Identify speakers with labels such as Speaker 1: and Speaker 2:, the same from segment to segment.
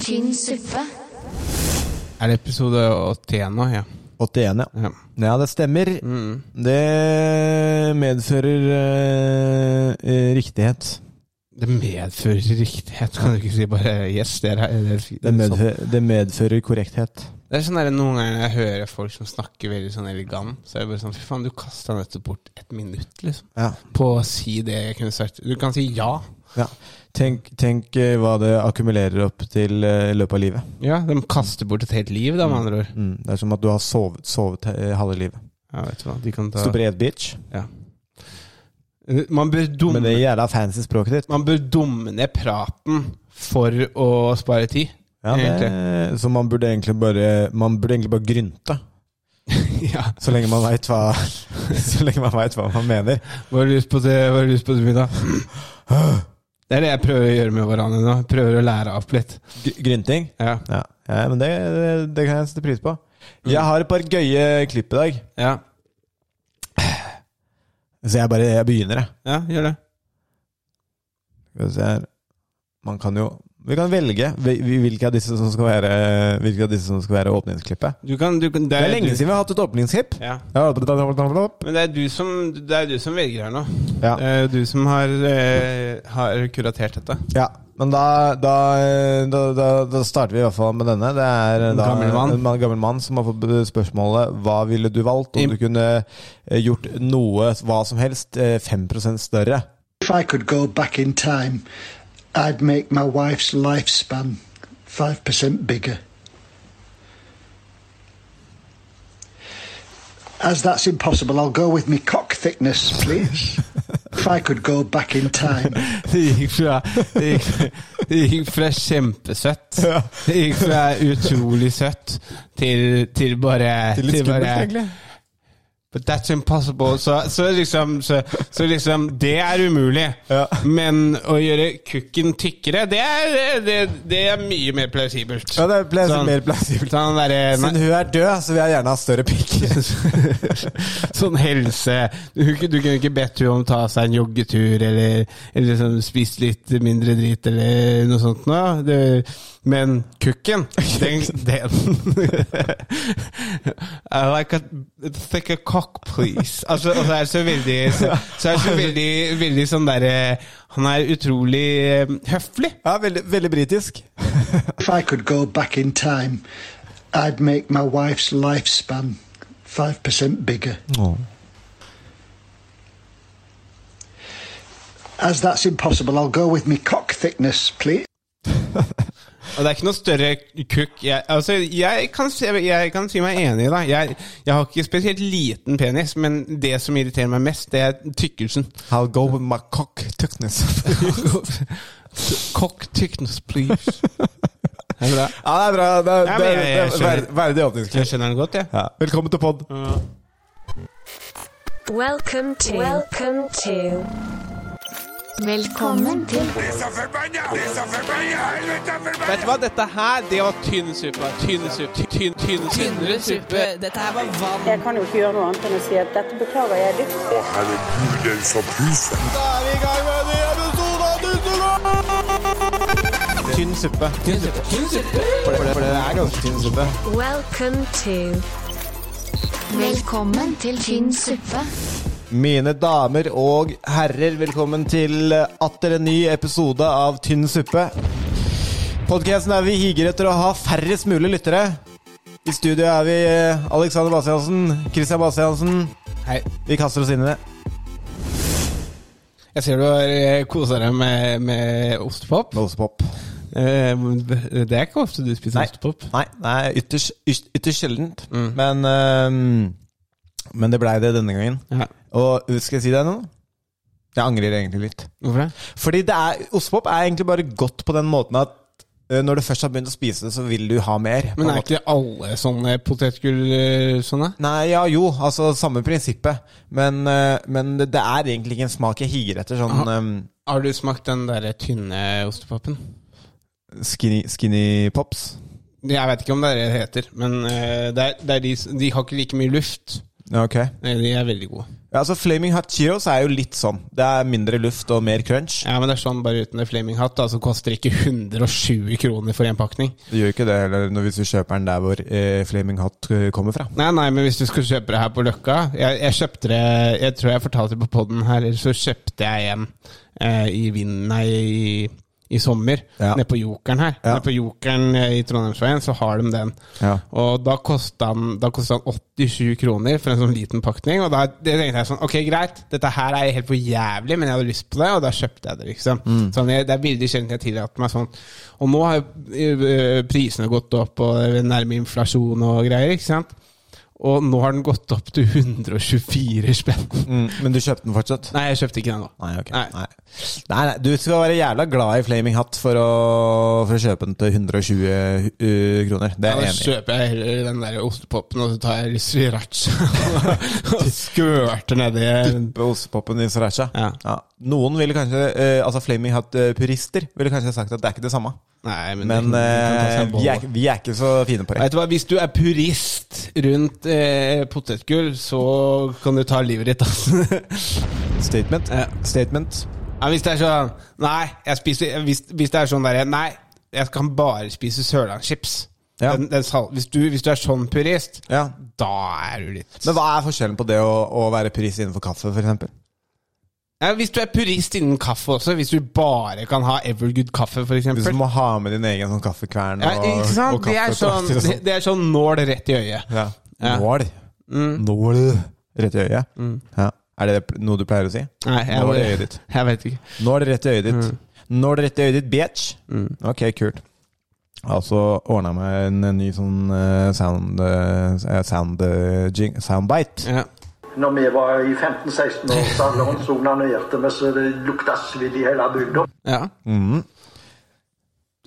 Speaker 1: Tynn suppe.
Speaker 2: Er det episode 81 nå? Ja.
Speaker 3: 81, ja.
Speaker 2: ja.
Speaker 3: Ja, det stemmer.
Speaker 2: Mm.
Speaker 3: Det medfører eh, eh, riktighet.
Speaker 2: Det medfører riktighet, kan du ikke si bare yes, det er, det er, fi-
Speaker 3: Det
Speaker 2: sånn.
Speaker 3: medfører, det medfører korrekthet.
Speaker 2: Det er sånn der, Noen ganger når jeg hører folk som snakker veldig sånn elegant, så er det bare sånn Fy faen, du kasta nettopp bort et minutt liksom,
Speaker 3: Ja.
Speaker 2: på å si det jeg kunne sagt. Du kan si ja.
Speaker 3: ja. Tenk, tenk eh, hva det akkumulerer opp til eh, i løpet av livet.
Speaker 2: Ja, De kaster bort et helt liv, da, med andre ord.
Speaker 3: Mm. Det er som at du har sovet, sovet eh, halve livet.
Speaker 2: Ja, vet du hva, de kan ta...
Speaker 3: Stupid bitch.
Speaker 2: Man bør dumme
Speaker 3: Men det er jævla fancy språket ditt.
Speaker 2: Man bør dumme ned praten for å spare tid.
Speaker 3: Ja, det, så man burde egentlig bare Man burde egentlig bare grynte.
Speaker 2: ja.
Speaker 3: Så lenge man veit hva, så lenge man vet hva man mener.
Speaker 2: Hva har du lyst på til, hva har du lyst på til middag? Det er det jeg prøver å gjøre med hverandre nå. Prøver å lære opp litt.
Speaker 3: Gr- Grynting?
Speaker 2: Ja.
Speaker 3: Ja, ja men det, det, det kan jeg sette pris på. Jeg har et par gøye klipp i dag.
Speaker 2: Ja,
Speaker 3: Så jeg bare jeg begynner, jeg.
Speaker 2: ja gjør det.
Speaker 3: Skal vi se her. Man kan jo Vi kan velge hvil- hvilke av disse som skal være, hvilke av disse som skal være åpningsklippet.
Speaker 2: Du kan, du kan,
Speaker 3: Det er lenge
Speaker 2: du-
Speaker 3: siden vi har hatt et åpningsklipp.
Speaker 2: Ja.
Speaker 3: Ja.
Speaker 2: Men det er du som, det er du som velger her nå.
Speaker 3: Ja.
Speaker 2: Det er du som har, eh, har kuratert dette.
Speaker 3: Ja, men da, da, da, da, da starter vi i hvert fall med denne. Det er
Speaker 2: En
Speaker 3: da,
Speaker 2: gammel mann.
Speaker 3: en mann- gammel mann som har fått spørsmålet Hva ville du valgt om
Speaker 2: Im-
Speaker 3: du kunne eh, gjort noe, hva som helst, eh, 5 større?
Speaker 4: If I could go back in time, I'd make my wife's lifespan 5% bigger. As that's impossible, I'll go with my cock thickness, please. if I could go back in time.
Speaker 2: Det gikk fra, det gikk, det gikk fra kjempesøtt
Speaker 3: Ja.
Speaker 2: Det gikk fra utrolig søtt til, til bare
Speaker 3: Til litt skummelt,
Speaker 2: bare,
Speaker 3: egentlig.
Speaker 2: But that's impossible. Så, så, liksom, så, så liksom Det er umulig.
Speaker 3: Ja.
Speaker 2: Men å gjøre kukken tykkere, det er, det, det er mye mer plausibelt.
Speaker 3: Ja, det er plas-
Speaker 2: Sånn-
Speaker 3: mer plausibelt.
Speaker 2: Sånn, derre-
Speaker 3: Siden hun er død, så vil jeg gjerne ha større pikk.
Speaker 2: sånn helse du, du kunne ikke bedt henne om å ta seg en joggetur, eller, eller liksom spist litt mindre drit, eller noe sånt. Nå. Det, men kukken, den, den I like a thick a cock, please. Altså, og så er det så veldig Så, så er det så veldig, veldig sånn derre Han er utrolig eh, høflig.
Speaker 3: Ja, veldig, veldig britisk.
Speaker 4: If I could go back in time, I'd make my wife's lifespan 5% bigger. As that's impossible, I'll go with my cock thickness, please.
Speaker 2: Og det er ikke noe større kukk jeg, altså, jeg, kan, si- jeg kan si meg enig, da. Jeg, jeg har ikke spesielt liten penis, men det som irriterer meg mest, det er tykkelsen.
Speaker 3: I'll go with my cock thickness.
Speaker 2: Cock thickness, please. Det er bra.
Speaker 3: ja, det er bra. Det
Speaker 2: Ja,
Speaker 3: er,
Speaker 2: men
Speaker 3: det er,
Speaker 2: jeg-
Speaker 3: det
Speaker 2: jeg
Speaker 3: er
Speaker 2: skjønner.
Speaker 3: ver- verdig åpningsklipp.
Speaker 2: Jeg skjønner den godt, jeg.
Speaker 3: Ja. Velkommen til pod.
Speaker 5: Welcome to. Welcome to.
Speaker 1: Velkommen til
Speaker 2: Vet du hva, dette her, det var tynn suppe. Tynn suppe. Tynn, tynn, tynnere suppe.
Speaker 6: Dette her var vann.
Speaker 7: Jeg kan jo ikke gjøre noe annet enn å si at dette beklager jeg dypt.
Speaker 8: Å, herregud, den som pyser.
Speaker 3: Da er vi i gang med en ny episode av Dusselord! Tynn suppe. Tynn suppe. For, det, for det er ganske tynn suppe.
Speaker 5: Welcome to.
Speaker 1: Velkommen til tynn suppe.
Speaker 3: Mine damer og herrer, velkommen til eh, atter en ny episode av Tynn suppe. Podkasten er vi higer etter å ha færrest mulig lyttere. I studio er vi eh, Alexander Bastiansen, Christian Bastiansen.
Speaker 2: Hei.
Speaker 3: Vi kaster oss inn i det.
Speaker 2: Jeg ser du har eh, koset deg med, med ostepop.
Speaker 3: Med ostepop.
Speaker 2: Eh, Det er ikke ofte du spiser
Speaker 3: Nei.
Speaker 2: ostepop.
Speaker 3: Nei, nei ytterst, ytterst, ytterst sjeldent. Men, eh, men det blei det denne gangen.
Speaker 2: Ja.
Speaker 3: Og skal jeg si deg noe? Jeg angrer egentlig litt.
Speaker 2: Hvorfor det?
Speaker 3: Fordi det er, ostepop er egentlig bare godt på den måten at eh, når du først har begynt å spise det, så vil du ha mer. på en
Speaker 2: Men er
Speaker 3: måte.
Speaker 2: ikke alle sånne potetgull eh, sånne?
Speaker 3: Nei, ja, jo, altså samme prinsippet. Men, eh, men det, det er egentlig ikke en smak jeg higer etter. Sånn em,
Speaker 2: Har du smakt den derre tynne ostepopen?
Speaker 3: skinny, skinny pops.
Speaker 2: Jeg vet ikke om det er det det heter, men eh, det er, det er de, s- de har ikke like mye luft.
Speaker 3: Ja, ok.
Speaker 2: Eh, De er veldig gode.
Speaker 3: Ja, Ja, altså Flaming Hot Cheetos er jo litt sånn. Det er mindre luft og mer crunch.
Speaker 2: Ja, men det er sånn bare uten det flaming hatt, da, så koster det ikke 120 kroner for en pakning.
Speaker 3: Det gjør ikke det heller når- hvis du kjøper den der hvor eh, Flaming Hot eh, kommer fra.
Speaker 2: Nei, nei, men hvis du skulle kjøpe det her på Løkka Jeg, jeg kjøpte det Jeg tror jeg fortalte det på poden her, eller så kjøpte jeg en eh, i vind... Nei, i, i sommer.
Speaker 3: Ja.
Speaker 2: Nede på Jokeren her.
Speaker 3: Ja.
Speaker 2: Nede på Jokeren eh, i Trondheimsveien, så har de den.
Speaker 3: Ja.
Speaker 2: Og da kosta den, da kosta den 87 kroner for en sånn liten pakning. Og da det tenkte jeg sånn Ok, greit, dette her er helt for jævlig, men jeg hadde lyst på det, og da kjøpte jeg det, liksom.
Speaker 3: Mm.
Speaker 2: Sånn, jeg, det er veldig sjelden jeg tillater meg sånn. Og nå har jo eh, prisene gått opp, og det er nærme inflasjon og greier, ikke sant. Og nå har den gått opp til 124 spenn.
Speaker 3: Mm, men du kjøpte den fortsatt?
Speaker 2: Nei, jeg kjøpte ikke den nå.
Speaker 3: Nei, ok.
Speaker 2: Nei.
Speaker 3: Nei. Nei. Nei, du skal være jævla glad i Flaming Hot for å, for å kjøpe den til 120 eh, kroner. Det
Speaker 2: Ja,
Speaker 3: er
Speaker 2: da
Speaker 3: jeg enig i.
Speaker 2: kjøper jeg heller den der ostepopen, og så tar jeg litt sriracha og skvørter nedi.
Speaker 3: Duppe ostepopen i sriracha.
Speaker 2: Ja.
Speaker 3: Noen ville kanskje, eh, altså Flaming Hut-purister, ville kanskje sagt at det er ikke det samme.
Speaker 2: Nei, men,
Speaker 3: Men
Speaker 2: det- det kan ta seg
Speaker 3: eh,
Speaker 2: en bolle.
Speaker 3: vi, er, vi er ikke så fine på det.
Speaker 2: Vet du hva, Hvis du er purist rundt eh, potetgull, så kan du ta livet ditt, altså.
Speaker 3: Statement.
Speaker 2: Ja.
Speaker 3: Statement.
Speaker 2: Ja, hvis det er sånn Nei, jeg spiser Hvis, hvis det er sånn derre Nei, jeg kan bare spise sørlandschips.
Speaker 3: Ja.
Speaker 2: Den, den sal hvis, du, hvis du er sånn purist,
Speaker 3: Ja.
Speaker 2: da er du litt
Speaker 3: Men hva er forskjellen på det å, å være purist innenfor kaffe, f.eks.?
Speaker 2: ja, Hvis du er purist innen kaffe også, hvis du bare kan ha Evergood kaffe, f.eks.
Speaker 3: Hvis du må ha med din egen sånn kaffekvern
Speaker 2: Ja,
Speaker 3: og,
Speaker 2: ikke sant?
Speaker 3: og
Speaker 2: Det er sånn,
Speaker 3: kaffetrakter og
Speaker 2: det,
Speaker 3: sånn.
Speaker 2: det er sånn nål rett i øyet.
Speaker 3: Ja.
Speaker 2: Ja. Mm.
Speaker 3: Nål. Nål rett i øyet. Ja. Er det pl- noe du pleier å si?
Speaker 2: Nei, jeg,
Speaker 3: Nål i øyet ditt.
Speaker 2: jeg vet ikke.
Speaker 3: Nål rett i øyet ditt.
Speaker 2: Mm.
Speaker 3: Nål rett i øyet ditt, bitch. Ok, kult. Jeg har også ordna meg en ny sånn eh, sound, eh, sound eh, jing, soundbite.
Speaker 2: Ja.
Speaker 6: Når vi var i 15-16 år, så alle onanerte vi så det lukta svidd i hele bygda.
Speaker 2: ja.
Speaker 3: Mm.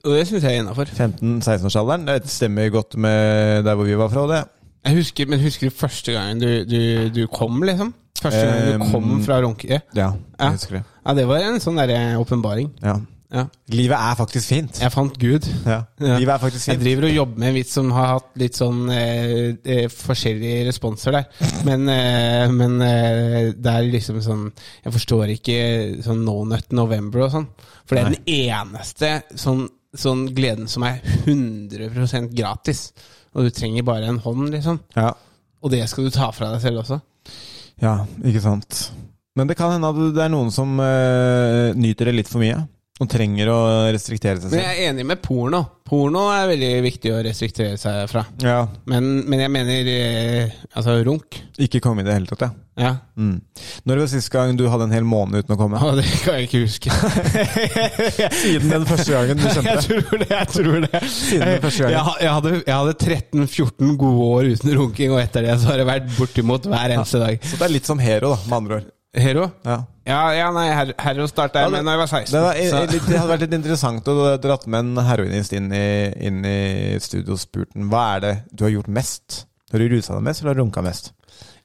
Speaker 2: Og det syns jeg er innafor.
Speaker 3: 15-16-årsalderen. Det stemmer godt med der hvor vi var fra, det.
Speaker 2: Jeg husker, men husker du første gangen du, du, du kom, liksom? Første gangen du
Speaker 3: Eh,
Speaker 2: kom fra Ronke?
Speaker 3: Ja,
Speaker 2: Ja.
Speaker 3: jeg husker det.
Speaker 2: Ja, det var en sånn derre åpenbaring.
Speaker 3: Ja.
Speaker 2: Ja.
Speaker 3: Livet er faktisk fint.
Speaker 2: Jeg fant Gud.
Speaker 3: Ja.
Speaker 2: Ja.
Speaker 3: Livet er faktisk
Speaker 2: Jeg
Speaker 3: fint.
Speaker 2: driver og jobber med en vits som har hatt litt sånn eh, eh, forskjellige responser der. Men, eh, men eh, det er liksom sånn Jeg forstår ikke sånn No Nut November og sånn. For det er den eneste sånn, sånn gleden som er 100 gratis. Og du trenger bare en hånd, liksom.
Speaker 3: Ja.
Speaker 2: Og det skal du ta fra deg selv også.
Speaker 3: ja, ikke sant. Men det kan hende at det er noen som eh, nyter det litt for mye. Og trenger å restriktere seg
Speaker 2: Men
Speaker 3: selv.
Speaker 2: jeg er enig med porno. Porno er veldig viktig å restriktere seg fra.
Speaker 3: Ja,
Speaker 2: Men, men jeg mener eh, altså runk.
Speaker 3: Ikke komme i det hele tatt, ja.
Speaker 2: Ja.
Speaker 3: Mm. Når var sist gang du hadde en hel måned uten å komme?
Speaker 2: Og det kan jeg ikke huske.
Speaker 3: Siden den første gangen du kjente
Speaker 2: Jeg
Speaker 3: det.
Speaker 2: tror det. Jeg tror det
Speaker 3: Siden den første gangen.
Speaker 2: jeg, ha- jeg hadde, jeg hadde 13-14 gode år uten runking, og etter det så har det vært bortimot hver eneste dag.
Speaker 3: Så det er litt som Hero, da, med andre ord.
Speaker 2: Hero?
Speaker 3: Ja.
Speaker 2: Ja, ja nei, her, Hero starta jeg med da jeg var 16.
Speaker 3: Det, var, eh,
Speaker 2: så-
Speaker 3: litt, det hadde vært litt interessant å dratt med en heroinist inn i, inn i studiospurten. Hva er det du har gjort mest? Har du rusa deg mest, eller har du runka mest?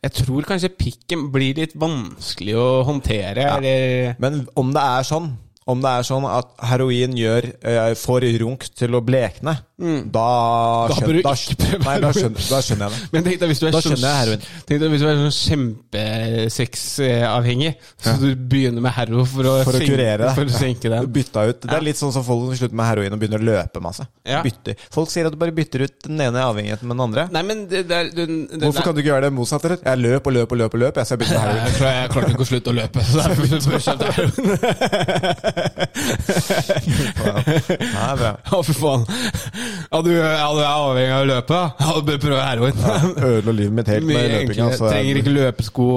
Speaker 2: Jeg tror kanskje pikken blir litt vanskelig å håndtere. Eller,
Speaker 3: Men om det er sånn om det er sånn at heroin gjør, eh, får runk til å blekne, da,
Speaker 2: Mm. Da bør
Speaker 3: skjønner,
Speaker 2: du
Speaker 3: da,
Speaker 2: ikke prøve
Speaker 3: nei, da, skjønner, da skjønner jeg det.
Speaker 2: men tenk deg hvis du er
Speaker 3: Da
Speaker 2: sånn-
Speaker 3: skjønner jeg heroin.
Speaker 2: Tenk deg hvis du er sånn kjempesexavhengig, så du begynner med hero for å,
Speaker 3: For å
Speaker 2: senke-
Speaker 3: kurere
Speaker 2: For å
Speaker 3: deg.
Speaker 2: senke den.
Speaker 3: Bytta ut. Det er litt sånn som folk som slutter med heroin og begynner å løpe masse.
Speaker 2: Ja.
Speaker 3: Bytter. Folk sier at du bare bytter ut den ene avhengigheten med den andre.
Speaker 2: Nei, men det, det, er- det, det
Speaker 3: Hvorfor kan du ikke gjøre det motsatt? eller? Jeg løp og løp og løp, og løp jeg, så jeg begynte med heroin.
Speaker 2: Jeg tror jeg klarte ikke å slutte å løpe. Så derfor kjøpte jeg heroin.
Speaker 3: Nei, bra.
Speaker 2: Å, fy faen. Ja, du, ja, du er avhengig av å løpe? da? Ja, du bør prøve heroin.
Speaker 3: Ødela livet mitt helt
Speaker 2: Mye
Speaker 3: med løpinga.
Speaker 2: enklere. Trenger ikke løpesko.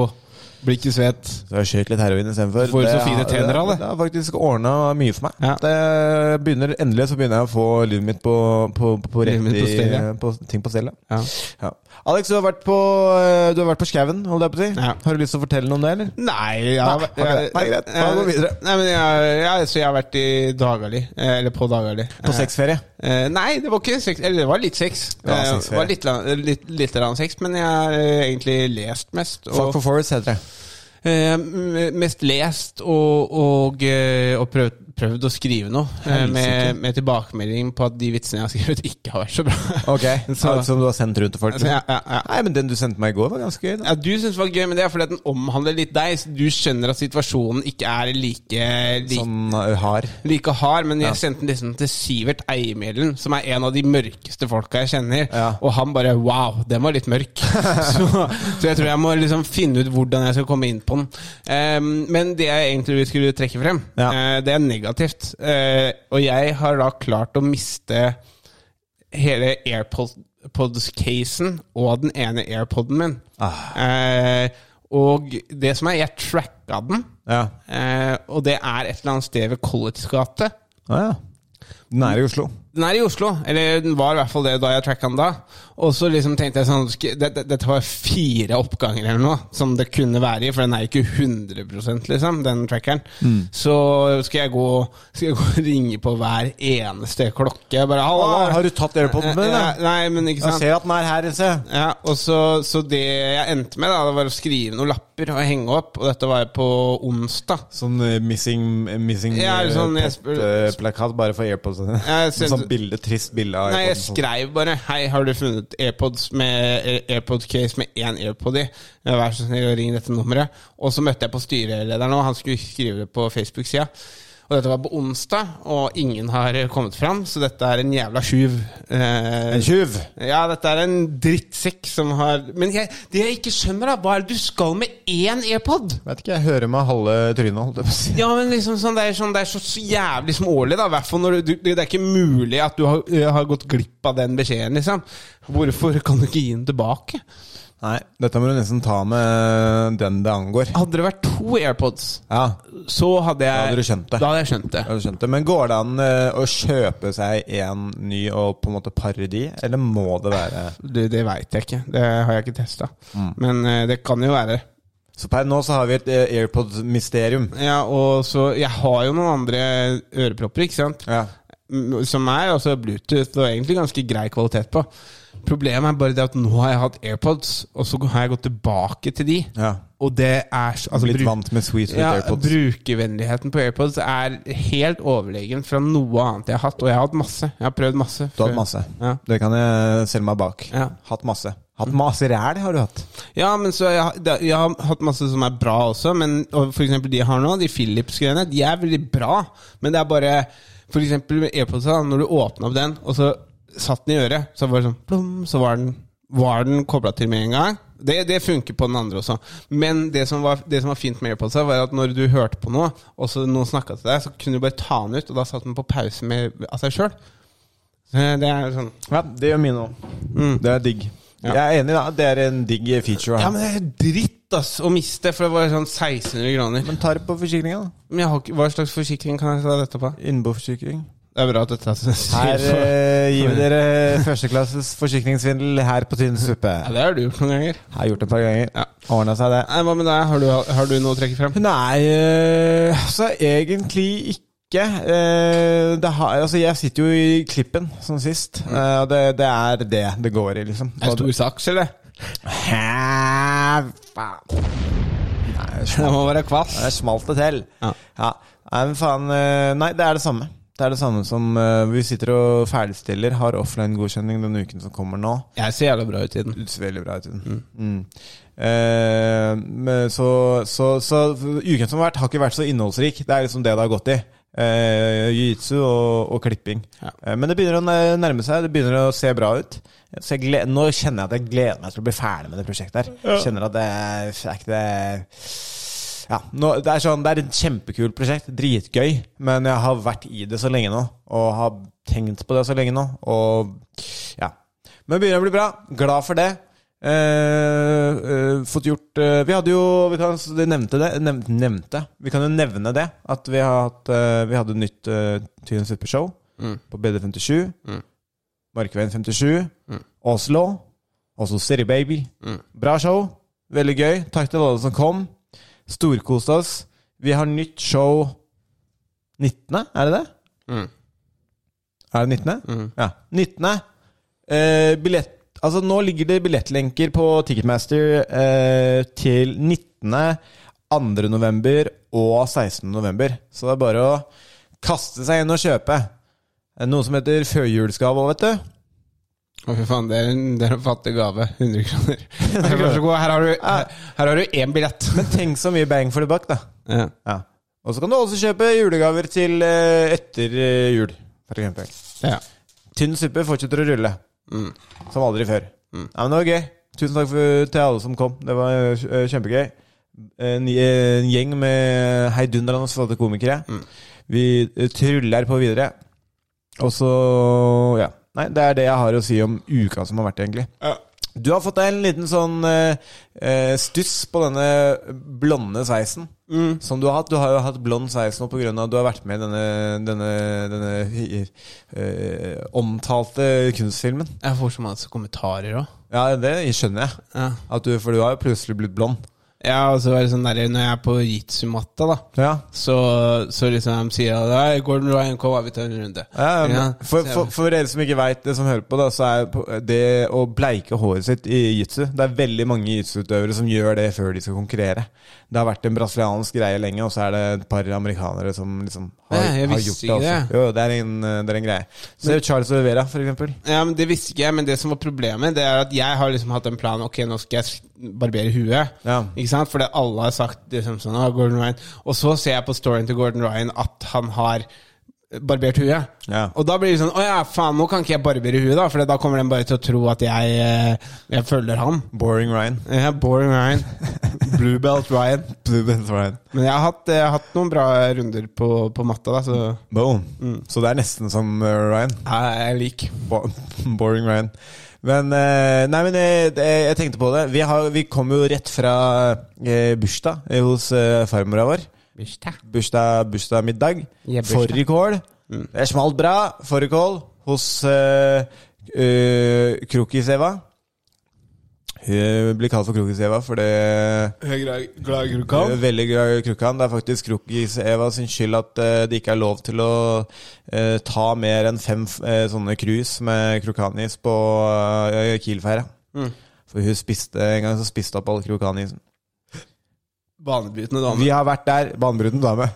Speaker 2: Blir ikke svett.
Speaker 3: Så jeg skjøt litt heroin istedenfor.
Speaker 2: Får du så
Speaker 3: Det-
Speaker 2: fine tenner av det?
Speaker 3: Det har faktisk ordna mye for meg.
Speaker 2: Ja.
Speaker 3: Det begynner, endelig så begynner jeg å få livet mitt på, på, på, rett
Speaker 2: Livet mitt på stell, ja.
Speaker 3: i, på ting på stell. ja.
Speaker 2: Ja.
Speaker 3: Ja. Alex, du har vært på, eh, du har vært på skauen, holdt jeg på å si.
Speaker 2: Ja.
Speaker 3: Har du lyst til å fortelle noe om det, eller?
Speaker 2: Nei, ja,
Speaker 3: Nei, ok. Nei, greit. Da går vi videre.
Speaker 2: Nei, men jeg, jeg, så jeg har vært i Dagali. eh, Eller på Dagali.
Speaker 3: På sexferie.
Speaker 2: Eh, nei, det var ikke sex. Eller det var litt sex.
Speaker 3: Det var
Speaker 2: Eh,
Speaker 3: sexferie.
Speaker 2: var litt, la- litt, litt rann sex, men jeg har eh, egentlig lest mest.
Speaker 3: Fuck for Forest heter det.
Speaker 2: Eh, m- mest lest og, og, eh, og prøvd, prøvd å skrive noe eh, med, med tilbakemelding på at de vitsene jeg har skrevet, ikke har vært så bra.
Speaker 3: Ok,
Speaker 2: Så-
Speaker 3: så, Som du har sendt rundt til folk?
Speaker 2: Altså, ja, ja, ja.
Speaker 3: Nei, men den du sendte meg i går, var ganske gøy. da
Speaker 2: Ja, du syns det var gøy, men det er fordi at den omhandler litt deg. Så du skjønner at situasjonen ikke er like, like,
Speaker 3: Sånn uh, hard.
Speaker 2: like hard. Men jeg
Speaker 3: Ja.
Speaker 2: sendte den liksom til Sivert Eimelen, som er en av de mørkeste folka jeg kjenner.
Speaker 3: Ja.
Speaker 2: Og han bare Wow, den var litt mørk. så, så jeg tror jeg må liksom finne ut hvordan jeg skal komme inn på den. Ehm, men det jeg egentlig skulle trekke frem,
Speaker 3: Ja.
Speaker 2: eh, det er negativt. Eh, og jeg har da klart å miste hele AirPods-casen og den ene AirPoden min.
Speaker 3: Ah.
Speaker 2: Eh, og det som er, jeg tracka den,
Speaker 3: Ja.
Speaker 2: eh, og det er et eller annet sted ved Collets gate.
Speaker 3: Ah, ja. Den er i Oslo.
Speaker 2: Den er i Oslo, eller den var i hvert fall det da jeg tracka den da. Og så liksom tenkte jeg sånn sk- det- det- Dette var fire oppganger eller noe som det kunne være i, for den er jo ikke 100 liksom, den trackeren.
Speaker 3: Mm.
Speaker 2: Så skal jeg, gå, skal jeg gå og ringe på hver eneste klokke. Bare, Hallo,
Speaker 3: Ah, har du tatt AirPoden min, da?
Speaker 2: Ja, Nei, men ikke
Speaker 3: Jeg
Speaker 2: sant.
Speaker 3: ser at den er her, se.
Speaker 2: Ja, og så, så det jeg endte med, da, det var å skrive noen lapper og henge opp. Og dette var jo på onsdag.
Speaker 3: Sånn eh, missing, eh, missing
Speaker 2: Ja,
Speaker 3: eh,
Speaker 2: sånn, jeg
Speaker 3: pop,
Speaker 2: spør-
Speaker 3: eh, plakat bare for AirPods.
Speaker 2: jeg sendte-
Speaker 3: sånn bilde, trist bilde av
Speaker 2: Nei, jeg
Speaker 3: AirPods. sånn.
Speaker 2: skrev bare 'Hei, har du funnet AirPods med eh, AirPod case med én AirPod i?' Ja, 'Vær så snill, ring dette nummeret.' Og så møtte jeg på styrelederen, og han skulle skrive det på Facebook-sida. Og dette var på onsdag, og ingen har eh, kommet fram, så dette er en jævla tjuv. Eh,
Speaker 3: En tjuv!
Speaker 2: Ja, dette er en drittsekk som har Men jeg, det jeg ikke skjønner, da, hva er det du skal med én AirPod?
Speaker 3: Vet ikke, jeg hører meg halve trynet, holdt jeg på å si.
Speaker 2: Ja, men liksom sånn, det er, sånn, det er så så jævlig smålig, da. I hvert fall når du, du, det er ikke mulig at du har, ø, har gått glipp av den beskjeden, liksom. Hvorfor kan du ikke gi den tilbake?
Speaker 3: Nei, dette må du nesten ta med eh, den det angår.
Speaker 2: Hadde det vært to AirPods,
Speaker 3: Ja,
Speaker 2: så hadde jeg
Speaker 3: Da hadde du skjønt det.
Speaker 2: Da hadde jeg skjønt det.
Speaker 3: jeg skjønte. Men går det an eh, å kjøpe seg en ny og på en måte parodi, eller må det være
Speaker 2: Du, det veit jeg ikke. Det har jeg ikke testa.
Speaker 3: Mm.
Speaker 2: Men ø, det kan jo være.
Speaker 3: Så per nå så har vi et eh, AirPod-mysterium.
Speaker 2: Ja, og så Jeg har jo noen andre ørepropper, ikke sant?
Speaker 3: Ja.
Speaker 2: M- Som er altså Bluetooth og egentlig ganske grei kvalitet på. Problemet er bare det at nå har jeg hatt AirPods, og så har jeg gått tilbake til de.
Speaker 3: Ja.
Speaker 2: Og det er så- altså,
Speaker 3: Blitt
Speaker 2: bruk-
Speaker 3: vant med sweet, sweet
Speaker 2: ja,
Speaker 3: AirPods.
Speaker 2: Brukervennligheten på AirPods er helt overlegen fra noe annet jeg har hatt. Og jeg har hatt masse. Jeg har prøvd masse.
Speaker 3: Du har
Speaker 2: før.
Speaker 3: hatt masse.
Speaker 2: Ja.
Speaker 3: Det kan jeg selge meg bak.
Speaker 2: Ja. Mm.
Speaker 3: Hatt masse. Hatt masse ræl har du hatt.
Speaker 2: Ja, men så jeg, har- det- jeg har hatt masse som er bra også. Men og for eksempel de jeg har nå, de Philips-greiene, de er veldig bra. Men det er bare For eksempel med AirPods, da, når du åpna opp den, og så satt den i øret, så var det sånn plom, så var den, var den kobla til med en gang. Det, det funker på den andre også. Men det som var, det som var fint med AirPods, da, var at når du hørte på noe, og så noen snakka til deg, så kunne du bare ta den ut, og da satt den på pause med, av seg sjøl. Det er sånn
Speaker 3: Ja, det gjør mine òg. Det er digg.
Speaker 2: Ja.
Speaker 3: Jeg er enig, da. Det er en digg feature.
Speaker 2: Ja, men det er dritt, ass, å miste, for det var sånn 1600 kroner.
Speaker 3: ta det på forsikringa, da.
Speaker 2: Men jeg har ikke, hva slags forsikring kan jeg ta dette på?
Speaker 3: Innboforsikring.
Speaker 2: Det er bra at dette er
Speaker 3: Her
Speaker 2: Ja,
Speaker 3: eh, gir vi dere førsteklasses forsikringssvindel her på Tynn suppe.
Speaker 2: det har du gjort noen ganger.
Speaker 3: Har gjort det et par ganger.
Speaker 2: Ja.
Speaker 3: Ordna seg, det.
Speaker 2: Nei, Hva med deg? Har du, har du noe å trekke frem?
Speaker 3: Nei, eh, altså egentlig ikke. Eh, det har, altså, jeg sitter jo i klippen, som sist. Eh, og det, det er det det går i, liksom.
Speaker 2: En stor saks, eller?
Speaker 3: Hæ, faen. Nei, jeg
Speaker 2: Det må være kvass.
Speaker 3: Det smalt det til.
Speaker 2: Ja.
Speaker 3: Nei, men faen eh, Nei, det er det samme. Det er det samme som eh, vi sitter og ferdigstiller. Har offline-godkjenning denne uken som kommer nå.
Speaker 2: Jeg ser jævla bra ut i den.
Speaker 3: Det ser veldig bra ut. i den. Mm. Eh, men så, så, så uken som har vært, har ikke vært så innholdsrik. Det er liksom det det har gått i. Eh, Jiu-jitsu og, og klipping.
Speaker 2: Ja.
Speaker 3: Eh, men det begynner å nær- nærme seg. Det begynner å se bra ut. Så jeg gled, nå kjenner jeg at jeg gleder meg til å bli ferdig med det prosjektet her. Kjenner at det er det er ikke det ja, nå, det er sånn, det er et kjempekult prosjekt, dritgøy, men jeg har vært i det så lenge nå, og har tenkt på det så lenge nå, og ja. Men det begynner å bli bra, glad for det. Eh, eh, fått gjort eh, Vi hadde jo vi kan, du nevnte det, nev, nevnte. Vi kan jo nevne det, at vi, har hatt, eh, vi hadde nytt uh, Tyen Supershow
Speaker 2: Mm.
Speaker 3: på BD57,
Speaker 2: Mm.
Speaker 3: Markveien 57,
Speaker 2: Mm.
Speaker 3: Oslo, Oslo City Baby.
Speaker 2: Mm.
Speaker 3: Bra show, veldig gøy. Takk til alle som kom. Storkost oss. Vi har nytt show 19., er det det?
Speaker 2: Mm.
Speaker 3: Er det 19.?
Speaker 2: Mm.
Speaker 3: Ja. 19. Eh, billett, altså nå ligger det billettlenker på Ticketmaster eh, til 19., 2. november og 16. november. Så det er bare å kaste seg inn og kjøpe. Det er Noe som heter førjulsgave òg, vet du.
Speaker 2: Å, fy faen, det er, en, det er en fattig gave. 100 kroner. Det er kanskje god. Her har du, her, her har du én billett.
Speaker 3: Ah. Men tenk så mye bang for the buck, da.
Speaker 2: Ja.
Speaker 3: Ja. Og så kan du også kjøpe julegaver til eh, etter eh, jul, for eksempel.
Speaker 2: Ja.
Speaker 3: Tynn suppe fortsetter å rulle. Som aldri før. Ja, men det var gøy. Tusen takk for, til alle som kom. Det var eh, kjempegøy. En, en gjeng med heidundrende flotte komikere. Vi eh, tryller på videre. Og så Ja. Nei, det er det jeg har å si om uka som har vært, egentlig. Du har fått deg en liten sånn eh, eh, stuss på denne blonde sveisen. Som du har hatt. Du har jo hatt blond sveis nå pga. at du har vært med i denne, denne, denne eh, omtalte kunstfilmen.
Speaker 2: Jeg får så mange kommentarer òg.
Speaker 3: Ja, det skjønner jeg.
Speaker 2: Ja.
Speaker 3: At du, for du har jo plutselig blitt blond.
Speaker 2: ja, og så er det sånn der, når jeg er på jitsu-matta, da,
Speaker 3: Ja.
Speaker 2: så, så liksom de sier at «Nei, Gordon Ryan, kom, vi tar en runde.
Speaker 3: Ja,
Speaker 2: Ja,
Speaker 3: men for,
Speaker 2: så jeg-
Speaker 3: for, for dere som ikke veit det som hører på, da, så er på- det å bleike håret sitt i jitsu Det er veldig mange jitsu-utøvere som gjør det før de skal konkurrere. Det har vært en brasiliansk greie lenge, og så er det et par amerikanere som liksom har,
Speaker 2: Nei, jeg
Speaker 3: har
Speaker 2: visste
Speaker 3: gjort det.
Speaker 2: ikke
Speaker 3: Også.
Speaker 2: det.
Speaker 3: Jo, det er en, eh, det er en greie. Se Charles Olivera, for eksempel.
Speaker 2: Ja, men Det visste ikke jeg, men det som var problemet, Det er at jeg har liksom hatt en plan Ok, nå skal jeg barbere huet.
Speaker 3: Ja.
Speaker 2: Ikke sant? Fordi alle har sagt liksom sånn «Å, Gordon Ryan Og så ser jeg på storyen til Gordon Ryan at han har barbert huet.
Speaker 3: Ja.
Speaker 2: Og da blir det sånn Å ja, faen, nå kan ikke jeg barbere huet, da. For da kommer den bare til å tro at jeg, eh, jeg følger han.
Speaker 3: Boring Ryan.
Speaker 2: Ja, boring Ryan. Blue belt Ryan.
Speaker 3: Blue Belt Ryan.
Speaker 2: Men jeg har hatt, jeg har hatt noen bra runder på, på matta, da, så
Speaker 3: Boom. Så det er nesten som eh, Ryan.
Speaker 2: jeg er lik.
Speaker 3: Bo- Boring Ryan. Men eh, Nei, men eh, det- jeg tenkte på det. Vi, har, vi kom jo rett fra eh, bursdag eh, hos eh, farmora vår. Bursdag, bursdagsmiddag.
Speaker 2: Ja, bursdag. Mm.
Speaker 3: Fårikål. Det smalt bra. Fårikål hos eh, eh, Krokis-Eva. Hun blir kalt for Krokis-Eva fordi
Speaker 2: Glad i
Speaker 3: jeg er Eh, Veldig glad i Krukkan. Det er faktisk Krokis-Eva sin skyld at eh, det ikke er lov til å eh, ta mer enn fem eh, sånne krus med Krukkanis på uh, Kiel-feira. For hun spiste en gang så spiste hun opp all Krukkanisen.
Speaker 2: Banebrytende dame.
Speaker 3: Vi har vært der, banebruten dame.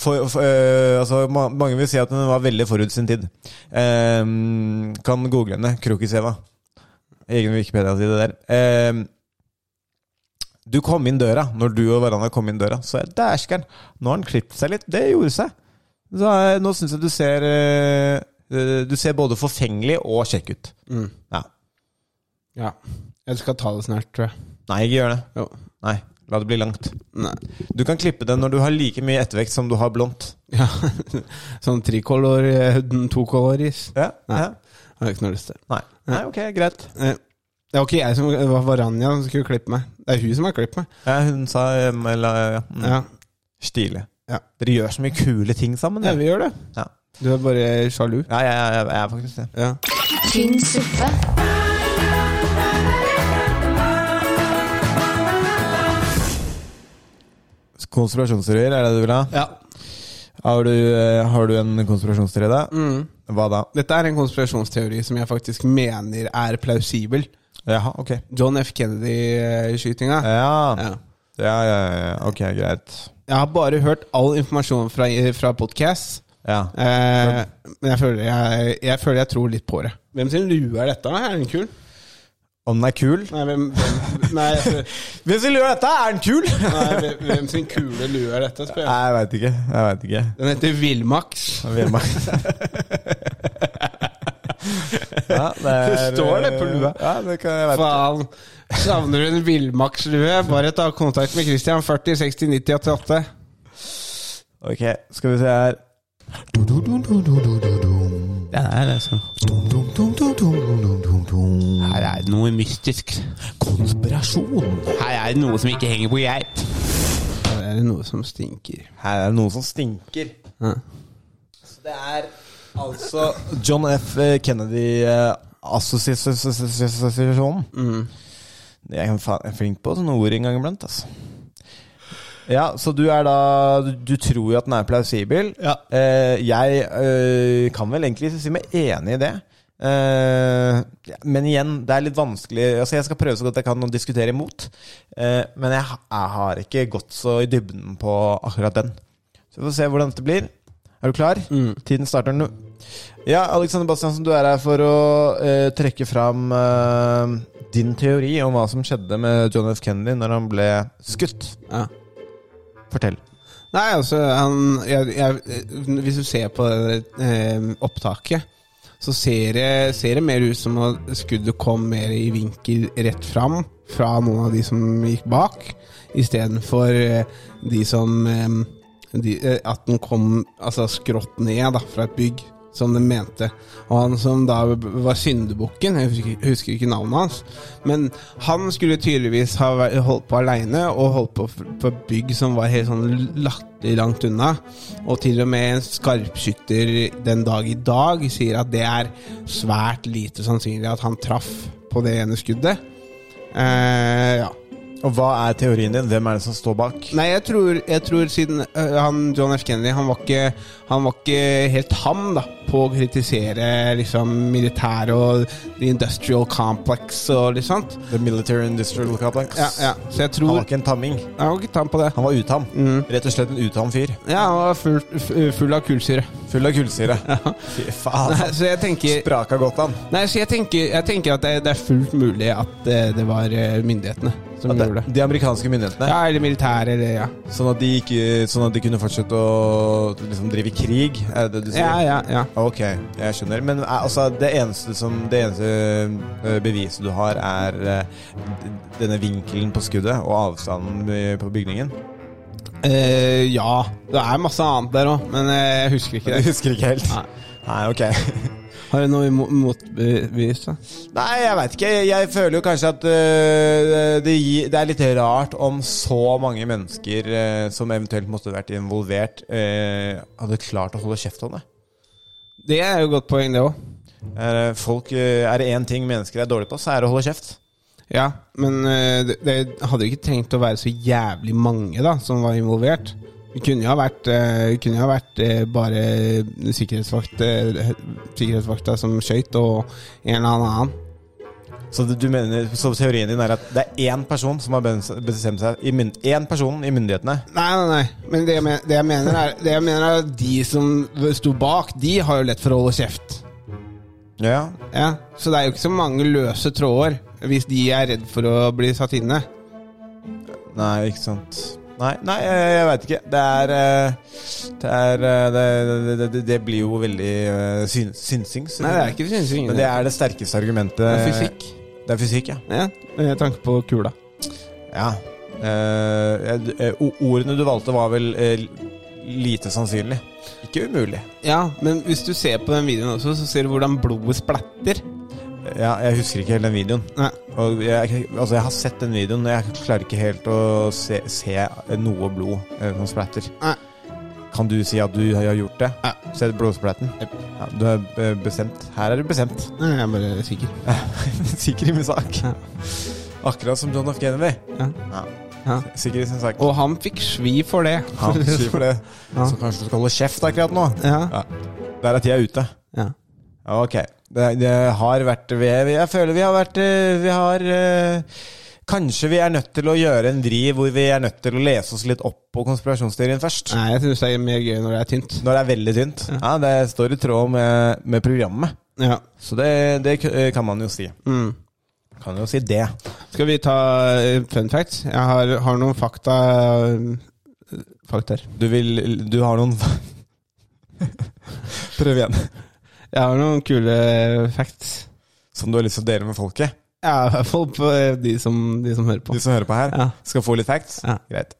Speaker 3: For, for, eh, altså, ma mange vil si at hun var veldig forut sin tid. Ehm, kan google henne. Krokis-Eva. Egen Wikipedia-side der. Ehm, du kom inn døra når du og Varanda kom inn døra. Så jeg dæsker'n, nå har han klippet seg litt. Det gjorde seg. Så, eh, nå syns jeg du ser eh, eh, Du ser både forfengelig og kjekk ut. Ja.
Speaker 2: Ja. Jeg skal ta det snart, tror jeg.
Speaker 3: Nei, ikke gjør det.
Speaker 2: Jo.
Speaker 3: Nei, La det bli langt.
Speaker 2: Nei.
Speaker 3: Du kan klippe det når du har like mye ettervekt som du har blondt.
Speaker 2: Ja. Sånn tricolor, eh, tokoloris.
Speaker 3: Ja,
Speaker 2: Nei.
Speaker 3: ja.
Speaker 2: Har jeg ikke noe lyst til.
Speaker 3: Nei. Nei, ok, greit.
Speaker 2: Eh, Det var ikke jeg som det var Varanja som skulle klippe meg. Det er hun som har klippet meg.
Speaker 3: Ja, hun sa um, eller, ja. Mm.
Speaker 2: Ja.
Speaker 3: Stilig.
Speaker 2: Ja.
Speaker 3: Dere gjør så mye kule ting sammen.
Speaker 2: ja,
Speaker 3: dere.
Speaker 2: vi gjør det.
Speaker 3: Ja.
Speaker 2: Du er bare sjalu.
Speaker 3: Ja, jeg, jeg, jeg er faktisk det.
Speaker 2: Ja.
Speaker 1: Tynn suppe.
Speaker 3: Konspirasjonsteorier, er det du vil ha?
Speaker 2: ja.
Speaker 3: Har du, eh, har du en konspirasjonsteori, da? Hva da?
Speaker 2: Dette er en konspirasjonsteori som jeg faktisk mener er plausibel.
Speaker 3: Jaha, ok.
Speaker 2: John F. eh, Kennedy-skytinga.
Speaker 3: Ja.
Speaker 2: Ja.
Speaker 3: Ja. ja, ja, ja. Ok, greit.
Speaker 2: Jeg har bare hørt all informasjon fra, fra podkast.
Speaker 3: Ja.
Speaker 2: Eh, men jeg føler jeg, jeg føler jeg tror litt på det. Hvem sin lue er dette? Er den kul?
Speaker 3: Om den er kul?
Speaker 2: Nei, hvem, hvem, nei, jeg føler-
Speaker 3: Hvis vi lurer dette, er den kul?
Speaker 2: nei hvem, hvem sin kule lue er dette, spør
Speaker 3: Nei,
Speaker 2: jeg.
Speaker 3: jeg veit ikke. Jeg vet ikke.
Speaker 2: Den heter Villmax.
Speaker 3: Jeg vil meg. ja, det, er, eh,
Speaker 2: Det står det på lua.
Speaker 3: Ja, det kan jeg vet.
Speaker 2: Faen. Savner du en villmaks-lue? Bare ta kontakt med Christian. 40 60 90 88.
Speaker 3: Ok, skal vi se her.
Speaker 2: Det er
Speaker 3: altså.
Speaker 2: liksom Her er det noe mystisk. Konspirasjon. Her er det noe som ikke henger på geip. Her er det noe som stinker.
Speaker 3: Her er det noe som stinker.
Speaker 2: Ja.
Speaker 3: Så det er altså John F. eh, Kennedy-assosiasjonen. Jeg er fa- jeg er flink på sånne ord en gang iblant, altså. Ja, så du er da Du, du tror jo at den er plausibel.
Speaker 2: Ja.
Speaker 3: Eh, jeg eh, kan vel egentlig si meg enig i det. Eh, ja, men igjen, det er litt vanskelig Altså Jeg skal prøve så godt jeg kan å diskutere imot. Eh, men jeg, ha- jeg har ikke gått så i dybden på akkurat den. Så vi får se hvordan dette blir. Er du klar? Tiden starter nå. Ja, Alexander Bastiansen, du er her for å eh, trekke fram eh, din teori om hva som skjedde med John F. Kennedy når han ble skutt.
Speaker 2: Ja.
Speaker 3: Fortell.
Speaker 2: Nei, altså han, jeg, jeg, Hvis du ser på det eh, opptaket, så ser det, ser det mer ut som at skuddet kom mer i vinkel rett fram fra noen av de som gikk bak, istedenfor eh, de som eh, de, eh, At den kom altså, skrått ned da, fra et bygg, som de mente. Og han som da var syndebukken, jeg husker, ikke- husker ikke navnet hans, men han skulle tydeligvis ha væ- holdt på aleine, og holdt på f- på et bygg som var helt sånn latterlig langt unna. Og til og med en skarpskytter den dag i dag sier at det er svært lite sannsynlig at han traff på det ene skuddet. Eh, ja.
Speaker 3: Og hva er teorien din? Hvem er det som står bak?
Speaker 2: Nei, jeg tror, jeg tror siden øh, han, John F. Kennedy han var, ikke, han var ikke helt ham da, på å kritisere liksom, militæret og the industrial complex og litt sånt.
Speaker 3: The Military Industrial Complex.
Speaker 2: Ja, ja. Så jeg
Speaker 3: Han
Speaker 2: tror
Speaker 3: var ikke en tamming.
Speaker 2: Jeg var ikke tam på det.
Speaker 3: Han var utam.
Speaker 2: Mm.
Speaker 3: Rett og slett en utam fyr.
Speaker 2: Ja, han var full, f- full av kullsyre.
Speaker 3: Full av kullsyre. Fy faen.
Speaker 2: Nei, så jeg tenker,
Speaker 3: Spraka godt, han.
Speaker 2: nei, så jeg tenker, jeg tenker at det, det er fullt mulig at eh, det var eh, myndighetene som
Speaker 3: De,
Speaker 2: gjorde det.
Speaker 3: de amerikanske myndighetene.
Speaker 2: Ja, eller militæret, eller ja.
Speaker 3: Sånn, at de ikke, sånn at de kunne fortsette å liksom, drive krig, er det det du sier?
Speaker 2: Ja, ja, ja.
Speaker 3: Ok, jeg skjønner. Men eh, altså, det eneste, som, det eneste eh, beviset du har, er eh, d- denne vinkelen på skuddet og avstanden eh, på bygningen?
Speaker 2: Eh, ja. Det er masse annet der òg, men eh, jeg husker ikke
Speaker 3: Jeg
Speaker 2: det.
Speaker 3: husker ikke helt.
Speaker 2: Nei.
Speaker 3: Nei, ok.
Speaker 2: Har du noe imo- motbevist, da?
Speaker 3: Nei, jeg veit ikke. Jeg føler jo kanskje at eh, det, gi- det er litt rart om så mange mennesker eh, som eventuelt måtte vært involvert, eh, hadde klart å holde kjeft om det.
Speaker 2: Det er jo et godt poeng, det òg.
Speaker 3: Er, folk, eh, er det én ting mennesker er dårlige på, så er det å holde kjeft.
Speaker 2: Ja, men eh, det, det hadde jo ikke trengt å være så jævlig mange da som var involvert. Det kunne jo ha vært, eh, kunne jo ha vært eh, bare sikkerhetsvakt, eh, sikkerhetsvakta som skøyt, og en eller annen.
Speaker 3: Så, det- du mener, så teorien din er at det er én person som har bens- bestemt seg i myn- Én person i myndighetene.
Speaker 2: Nei, nei, nei. Men det jeg, men, det jeg, mener, er, det jeg mener er at de som sto bak, de har jo lett for å holde kjeft.
Speaker 3: Ja.
Speaker 2: Ja, Så det er jo ikke så mange løse tråder hvis de er redd for å bli satt inne.
Speaker 3: Nei, ikke sant. Nei, nei jeg, jeg veit ikke. Det er eh, Det er eh, Det, det, det, det blir jo veldig eh, syn, synsing. så-
Speaker 2: Nei, det er ikke synsing.
Speaker 3: Men det er det sterkeste argumentet.
Speaker 2: Det er fysikk.
Speaker 3: Det er fysikk, ja.
Speaker 2: Ja, med tanke på kula.
Speaker 3: ja. Eh, jeg- eh, o- ordene du valgte, var vel eh, lite sannsynlig. Ikke umulig.
Speaker 2: Ja, men hvis du ser på den videoen også, så ser du hvordan blodet splatter.
Speaker 3: Ja, jeg husker ikke helt den videoen.
Speaker 2: Nei.
Speaker 3: Og jeg, altså, jeg har sett den videoen, men jeg klarer ikke helt å se, se noe blod eh, som splatter.
Speaker 2: Nei.
Speaker 3: Kan du si at du har gjort det?
Speaker 2: Ja.
Speaker 3: Sett blodsplatten?
Speaker 2: Jep.
Speaker 3: Ja, du er eh, bestemt. Her er du bestemt.
Speaker 2: Nei, jeg er bare sikker.
Speaker 3: Sikker i min sak.
Speaker 2: Ja.
Speaker 3: Akkurat som John F. Kennedy.
Speaker 2: Ja. Ja.
Speaker 3: Sikker i sin sak.
Speaker 2: Og han fikk svi for det.
Speaker 3: Ja, si for det.
Speaker 2: Ja.
Speaker 3: Så kanskje du skal holde kjeft akkurat nå?
Speaker 2: Ja.
Speaker 3: Der er tida ute.
Speaker 2: ja.
Speaker 3: Ok. Det, det har vært vi, vi- Jeg føler vi har vært eh, Vi har eh, Kanskje vi er nødt til å gjøre en vri hvor vi er nødt til å lese oss litt opp på konspirasjonsteorien først.
Speaker 2: Nei, jeg syns det er mer gøy når det er tynt.
Speaker 3: Når det er veldig tynt. Ja, Det står i tråd med, med programmet.
Speaker 2: Ja.
Speaker 3: Så det, det k- eh, kan man jo si.
Speaker 2: Mm.
Speaker 3: Kan jo si det.
Speaker 2: Skal vi ta eh, fun facts? Jeg har, har noen fakta eh, Faktaer.
Speaker 3: Du vil Du har noen Prøv igjen.
Speaker 2: Jeg har noen kule eh, facts.
Speaker 3: Som du har lyst til å dele med folket?
Speaker 2: Ja, i hvert fall på eh, de som, de som hører på.
Speaker 3: De som hører på her?
Speaker 2: Ja.
Speaker 3: Skal få litt facts?
Speaker 2: Ja.
Speaker 3: Greit.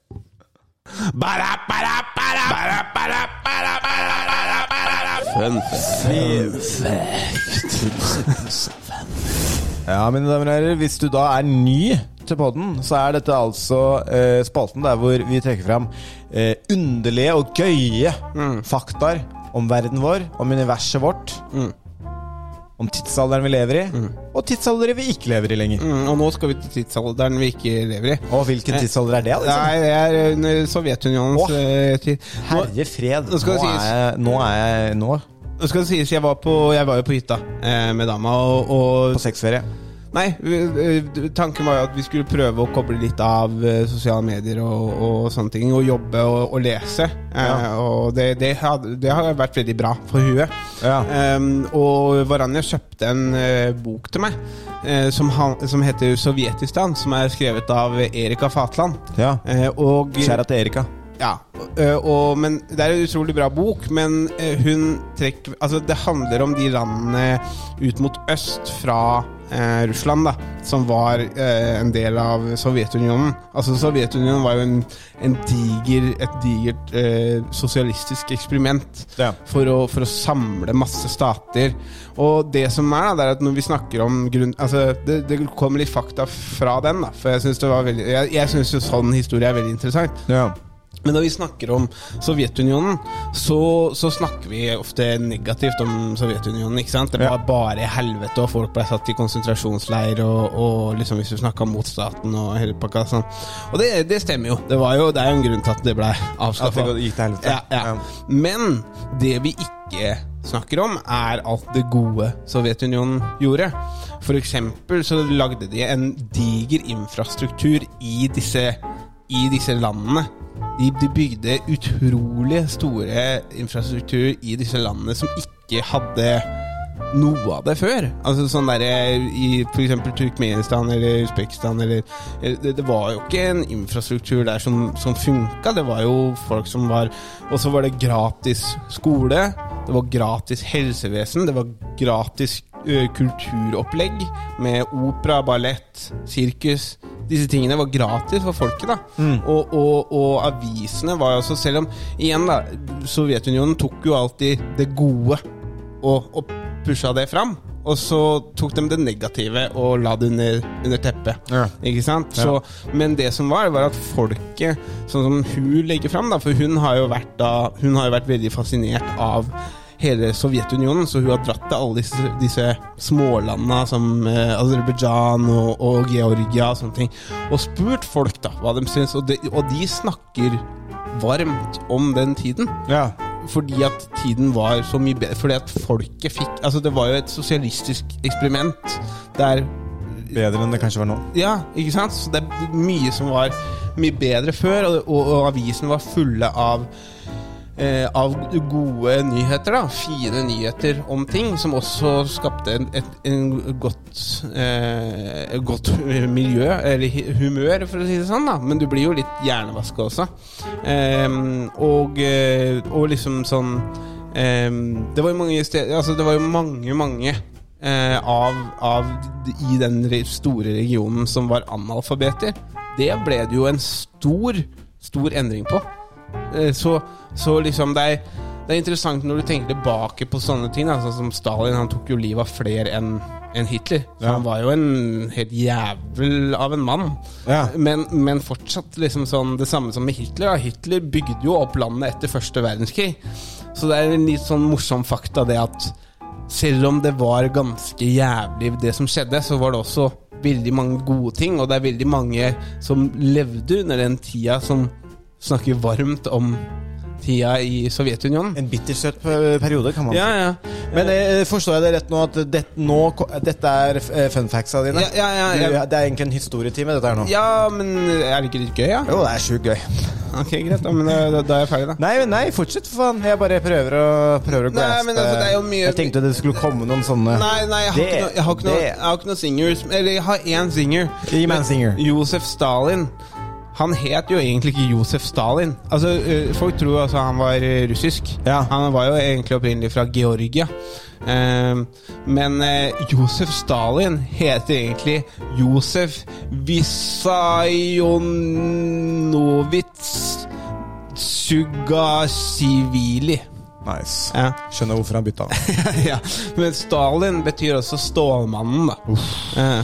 Speaker 3: Ja, mine damer og herrer, hvis du da er ny til podden, så er dette altså eh, spalten der hvor vi trekker fram eh, underlige og gøye faktaer om verden vår, om universet vårt, om tidsalderen vi lever i, og tidsalderen vi ikke lever i lenger.
Speaker 2: Mm, og nå skal vi til tidsalderen vi ikke lever i.
Speaker 3: Og hvilken tidsalder er det? Liksom?
Speaker 2: Nei, det er under Sovjetunionens
Speaker 3: Åh.
Speaker 2: eh, tid. Nå,
Speaker 3: Herre fred,
Speaker 2: Nå skal
Speaker 3: nå
Speaker 2: det
Speaker 3: er,
Speaker 2: sies.
Speaker 3: jeg, nå er jeg Nå,
Speaker 2: nå skal det sies, jeg var, på, jeg var jo på hytta eh, med dama, og,
Speaker 3: på
Speaker 2: og
Speaker 3: sexferie.
Speaker 2: Nei, eh, tanken var jo at vi skulle prøve å koble litt av eh, sosiale medier og, og sånne ting. Og jobbe og, og lese. Eh, Og det, det, hadde, det har vært veldig bra for huet.
Speaker 3: Ja.
Speaker 2: Ehm, og Varanja kjøpte en eh, bok til meg eh, som, han, som heter 'Sovjetistan', som er skrevet av Erika Fatland.
Speaker 3: Ja.
Speaker 2: Eh, og
Speaker 3: Kjære til Erika.
Speaker 2: ja, ø, og, men Det er en utrolig bra bok, men ø, hun trekker Altså, det handler om de landene ut mot øst fra ø, Russland, da, som var ø, en del av Sovjetunionen. Altså, Sovjetunionen var jo en, en diger, et digert ø, sosialistisk eksperiment
Speaker 3: Ja.
Speaker 2: for, å, for å samle masse stater. Og det som er, da, det er at når vi snakker om grunn... Altså, det, det kommer litt fakta fra den, da, for jeg syns det var veldig Jeg, jeg synes jo sånn historie er veldig interessant.
Speaker 3: Ja.
Speaker 2: Men når vi snakker om Sovjetunionen, så, så snakker vi ofte negativt om Sovjetunionen. ikke sant? Det var bare helvete, og folk ble satt i konsentrasjonsleir og, og liksom hvis du snakka mot staten og hele pakka. Sånn. Og det, det stemmer jo. Det, var jo. det er jo en grunn til at det ble
Speaker 3: At det
Speaker 2: avskaffa.
Speaker 3: gikk til helvete.
Speaker 2: Ja, ja. Men det vi ikke snakker om, er alt det gode Sovjetunionen gjorde. For eksempel så lagde de en diger infrastruktur i disse, i disse landene. De, de bygde utrolig store infrastruktur i disse landene som ikke hadde noe av det før. Altså sånn der, eh, I f.eks. Turkmenistan eller Usbekistan eller, eller det, det var jo ikke en infrastruktur der som, som funka. Det var jo folk som var Og så var det gratis skole. Det var gratis helsevesen. Det var gratis eh, kulturopplegg med opera, ballett, sirkus. Disse tingene var gratis for folket, da. Og, og, og avisene var jo også Selv om, igjen, da, Sovjetunionen tok jo alltid det gode og, og pusha det fram. Og så tok de det negative og la det under, under teppet.
Speaker 3: Ja.
Speaker 2: Ikke sant? Så, Men det som var, var at folket, sånn som hun legger fram da, For hun har, jo vært da, hun har jo vært veldig fascinert av hele Sovjetunionen, så hun har dratt til alle disse, disse smålandene som eh, Aserbajdsjan og, og Georgia og sånne ting, og spurt folk da hva de syns. Og de, og de snakker varmt om den tiden
Speaker 3: Ja.
Speaker 2: fordi at tiden var så mye bedre. Fordi at folket fikk Altså, det var jo et sosialistisk eksperiment der
Speaker 3: Bedre enn det kanskje var nå.
Speaker 2: Ja, ikke sant? Så det er mye som var mye bedre før, og, og, og avisene var fulle av eh, av gode nyheter, da. Fine nyheter om ting, som også skapte en, et en godt, eh, et godt miljø, eller hi- humør, for å si det sånn. da Men du blir jo litt hjernevaska også. Ehm, og, eh, og liksom sånn ehm, Det var jo mange steder Altså, det var jo mange, mange eh, av, av d- i den re- store regionen som var analfabeter. Det ble det jo en stor, stor endring på. Eh, så, så liksom det er, det er interessant når du tenker tilbake på sånne ting. da, Sånn som Stalin han tok jo livet av flere enn enn Hitler. Så
Speaker 3: Ja.
Speaker 2: Han var jo en helt jævel av en mann.
Speaker 3: Ja.
Speaker 2: Men, men fortsatt liksom sånn det samme som med Hitler. Da. Hitler bygde jo opp landet etter første verdenskrig. Så det er en litt sånn morsom fakta det at selv om det var ganske jævlig det som skjedde, så var det også veldig mange gode ting, og det er veldig mange som levde under den tida som snakker varmt om tida i Sovjetunionen.
Speaker 3: En bittersøt pe- periode, kan man
Speaker 2: Ja, ja.
Speaker 3: Men eh, forstår jeg det rett nå at det, nå, ko- dette er eh, fun factsa dine?
Speaker 2: Ja, ja, ja,
Speaker 3: Du-
Speaker 2: ja.
Speaker 3: Det er egentlig en historietime, dette her nå.
Speaker 2: ja, men er det ikke litt gøy, ja?
Speaker 3: Jo, det er sjukt gøy.
Speaker 2: Ok, greit. Da, men da, da- da er jeg ferdig, da.
Speaker 3: Nei, men nei, fortsett, for faen. Jeg bare prøver å, prøver å
Speaker 2: Nei,
Speaker 3: graspe-
Speaker 2: men altså, det er jo mye-
Speaker 3: Jeg tenkte det skulle komme noen sånne
Speaker 2: Nei, nei, jeg har,
Speaker 3: Det-
Speaker 2: ikke, noe, jeg har, ikke, noe,
Speaker 3: det-
Speaker 2: jeg har ikke noe singers Eller jeg har én singer.
Speaker 3: Gi meg en singer.
Speaker 2: Josef Stalin. Han het jo egentlig ikke Josef Stalin. Altså, ø, Folk tror altså han var ø, russisk.
Speaker 3: Ja.
Speaker 2: Han var jo egentlig opprinnelig fra Georgia. Ehm, men ø, Josef Stalin heter egentlig Josef Visajonovits Sugasivili.
Speaker 3: Nice.
Speaker 2: Ja.
Speaker 3: Skjønner hvorfor han bytta.
Speaker 2: ja, men Stalin betyr også stålmannen, da. Eh, eh,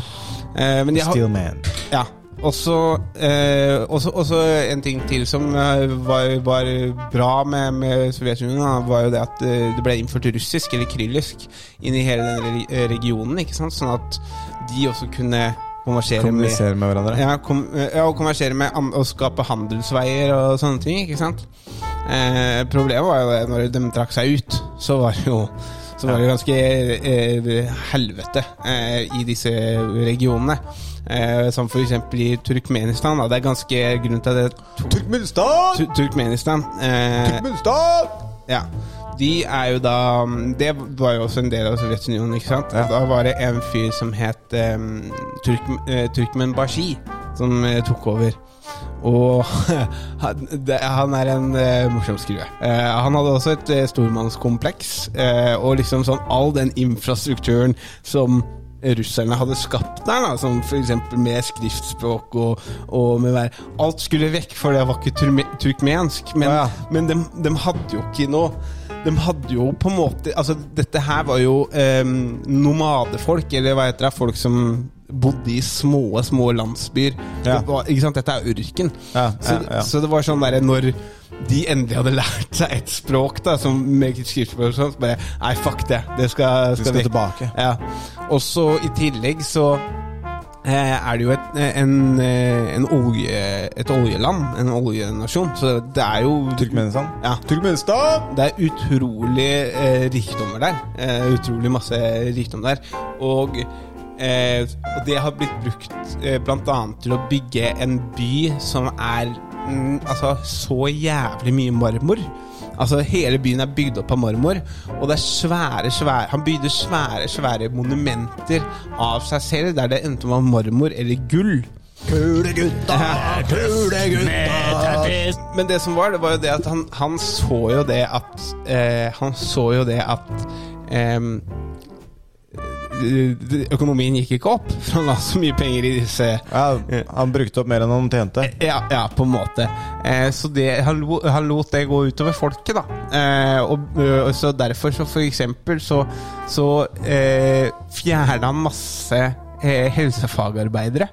Speaker 2: men jeg har
Speaker 3: Steel man.
Speaker 2: ja. Og så eh, også, også en ting til som eh, var, var bra med, med Sovjetunionen, da, var jo det at eh, det ble innført russisk, eller kyrillisk, inn i hele den re- eh, regionen. ikke sant? Sånn at de også kunne konversere med
Speaker 3: Kommunisere med hverandre.
Speaker 2: ja, kom, eh, ja, og konversere med an- og skape handelsveier og sånne ting, ikke sant? Eh, problemet var jo det, når de trakk seg ut, så var det jo så var det ganske eh, helvete eh, i disse regionene. Eh, som for eksempel i Turkmenistan. Da. Det er ganske grunnen til det
Speaker 3: Turkmenistan!
Speaker 2: Tu- Turkmenistan. Eh,
Speaker 3: Turkmenistan!
Speaker 2: ja. De er jo da Det var jo også en del av Sovjetunionen, ikke sant? Da var det en fyr som het eh, Turkm, eh, Turkmen Bashi, som eh, tok over. Og han, det, han er en eh, morsom skrue. Eh, han hadde også et eh, stormannskompleks, eh, og liksom sånn all den infrastrukturen som russerne hadde skapt der, da, som f.eks. med skriftspråk og, og med vær Alt skulle vekk, for det var ikke turme- turkmensk. Men,
Speaker 3: Ja, ja.
Speaker 2: men dem, dem hadde jo ikke noe De hadde jo på en måte Altså, dette her var jo eh, nomadefolk, eller hva heter det, folk som bodde i små, små landsbyer.
Speaker 3: Ja.
Speaker 2: Det var, ikke sant? Dette er ørken.
Speaker 3: Ja,
Speaker 2: så,
Speaker 3: ja, ja.
Speaker 2: så det var sånn derre når de endelig hadde lært seg et språk, da, som med skriftspråk og sånt, så bare Nei, fuck det. Det skal,
Speaker 3: Vi skal
Speaker 2: vekk.
Speaker 3: tilbake.
Speaker 2: Ja. Og så i tillegg så eh, er det jo et, en, eh, en olje, et oljeland, en oljenasjon, så det er jo
Speaker 3: Turkmenistan?
Speaker 2: Ja.
Speaker 3: Turkmenistan!
Speaker 2: Det er utrolig eh, rikdommer der. Eh, utrolig masse rikdom der. Og eh, og det har blitt brukt eh, bl.a. til å bygge en by som er mm, altså, så jævlig mye marmor. Altså Hele byen er bygd opp av marmor, og det er svære, svære han bygde svære svære monumenter av seg selv, der det enten var marmor eller gull. Kulegutta, kulegutta Men det som var, det var jo det at han, han så jo det at eh, Han så jo det at em, d- d- Økonomien gikk ikke opp, for han la så mye penger i disse
Speaker 3: Ja, han brukte opp mer enn han tjente.
Speaker 2: ja, ja, på en måte. Eh, så det, han, lo, han lot det gå utover folket, da. Eh, og, ø, og så derfor, så for eksempel, så, så eh, fjerna han masse eh, helsefagarbeidere.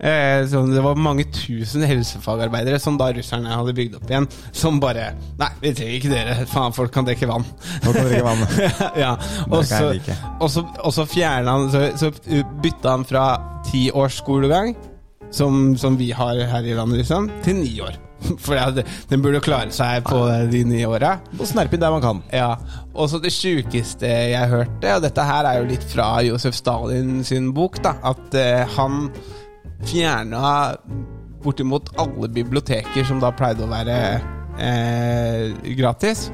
Speaker 2: Eh, så det var mange tusen helsefagarbeidere som da russerne hadde bygd opp igjen, som bare Nei, vi trenger ikke dere. Faen, folk kan drikke vann.
Speaker 3: Nå kan du drikke vann.
Speaker 2: ja, og
Speaker 3: Det kan
Speaker 2: så,
Speaker 3: jeg like.
Speaker 2: og så, og så fjerna han Så, så bytta han fra ti års skolegang, som, som vi har her i landet, liksom, til ni år. For det er- den burde klare seg på de ni åra.
Speaker 3: Og snerpe inn der man kan.
Speaker 2: Ja. Og så det sjukeste jeg hørte, og dette her er jo litt fra Josef Stalin sin bok, da, at eh, han fjerna bortimot alle biblioteker som da pleide å være eh, gratis,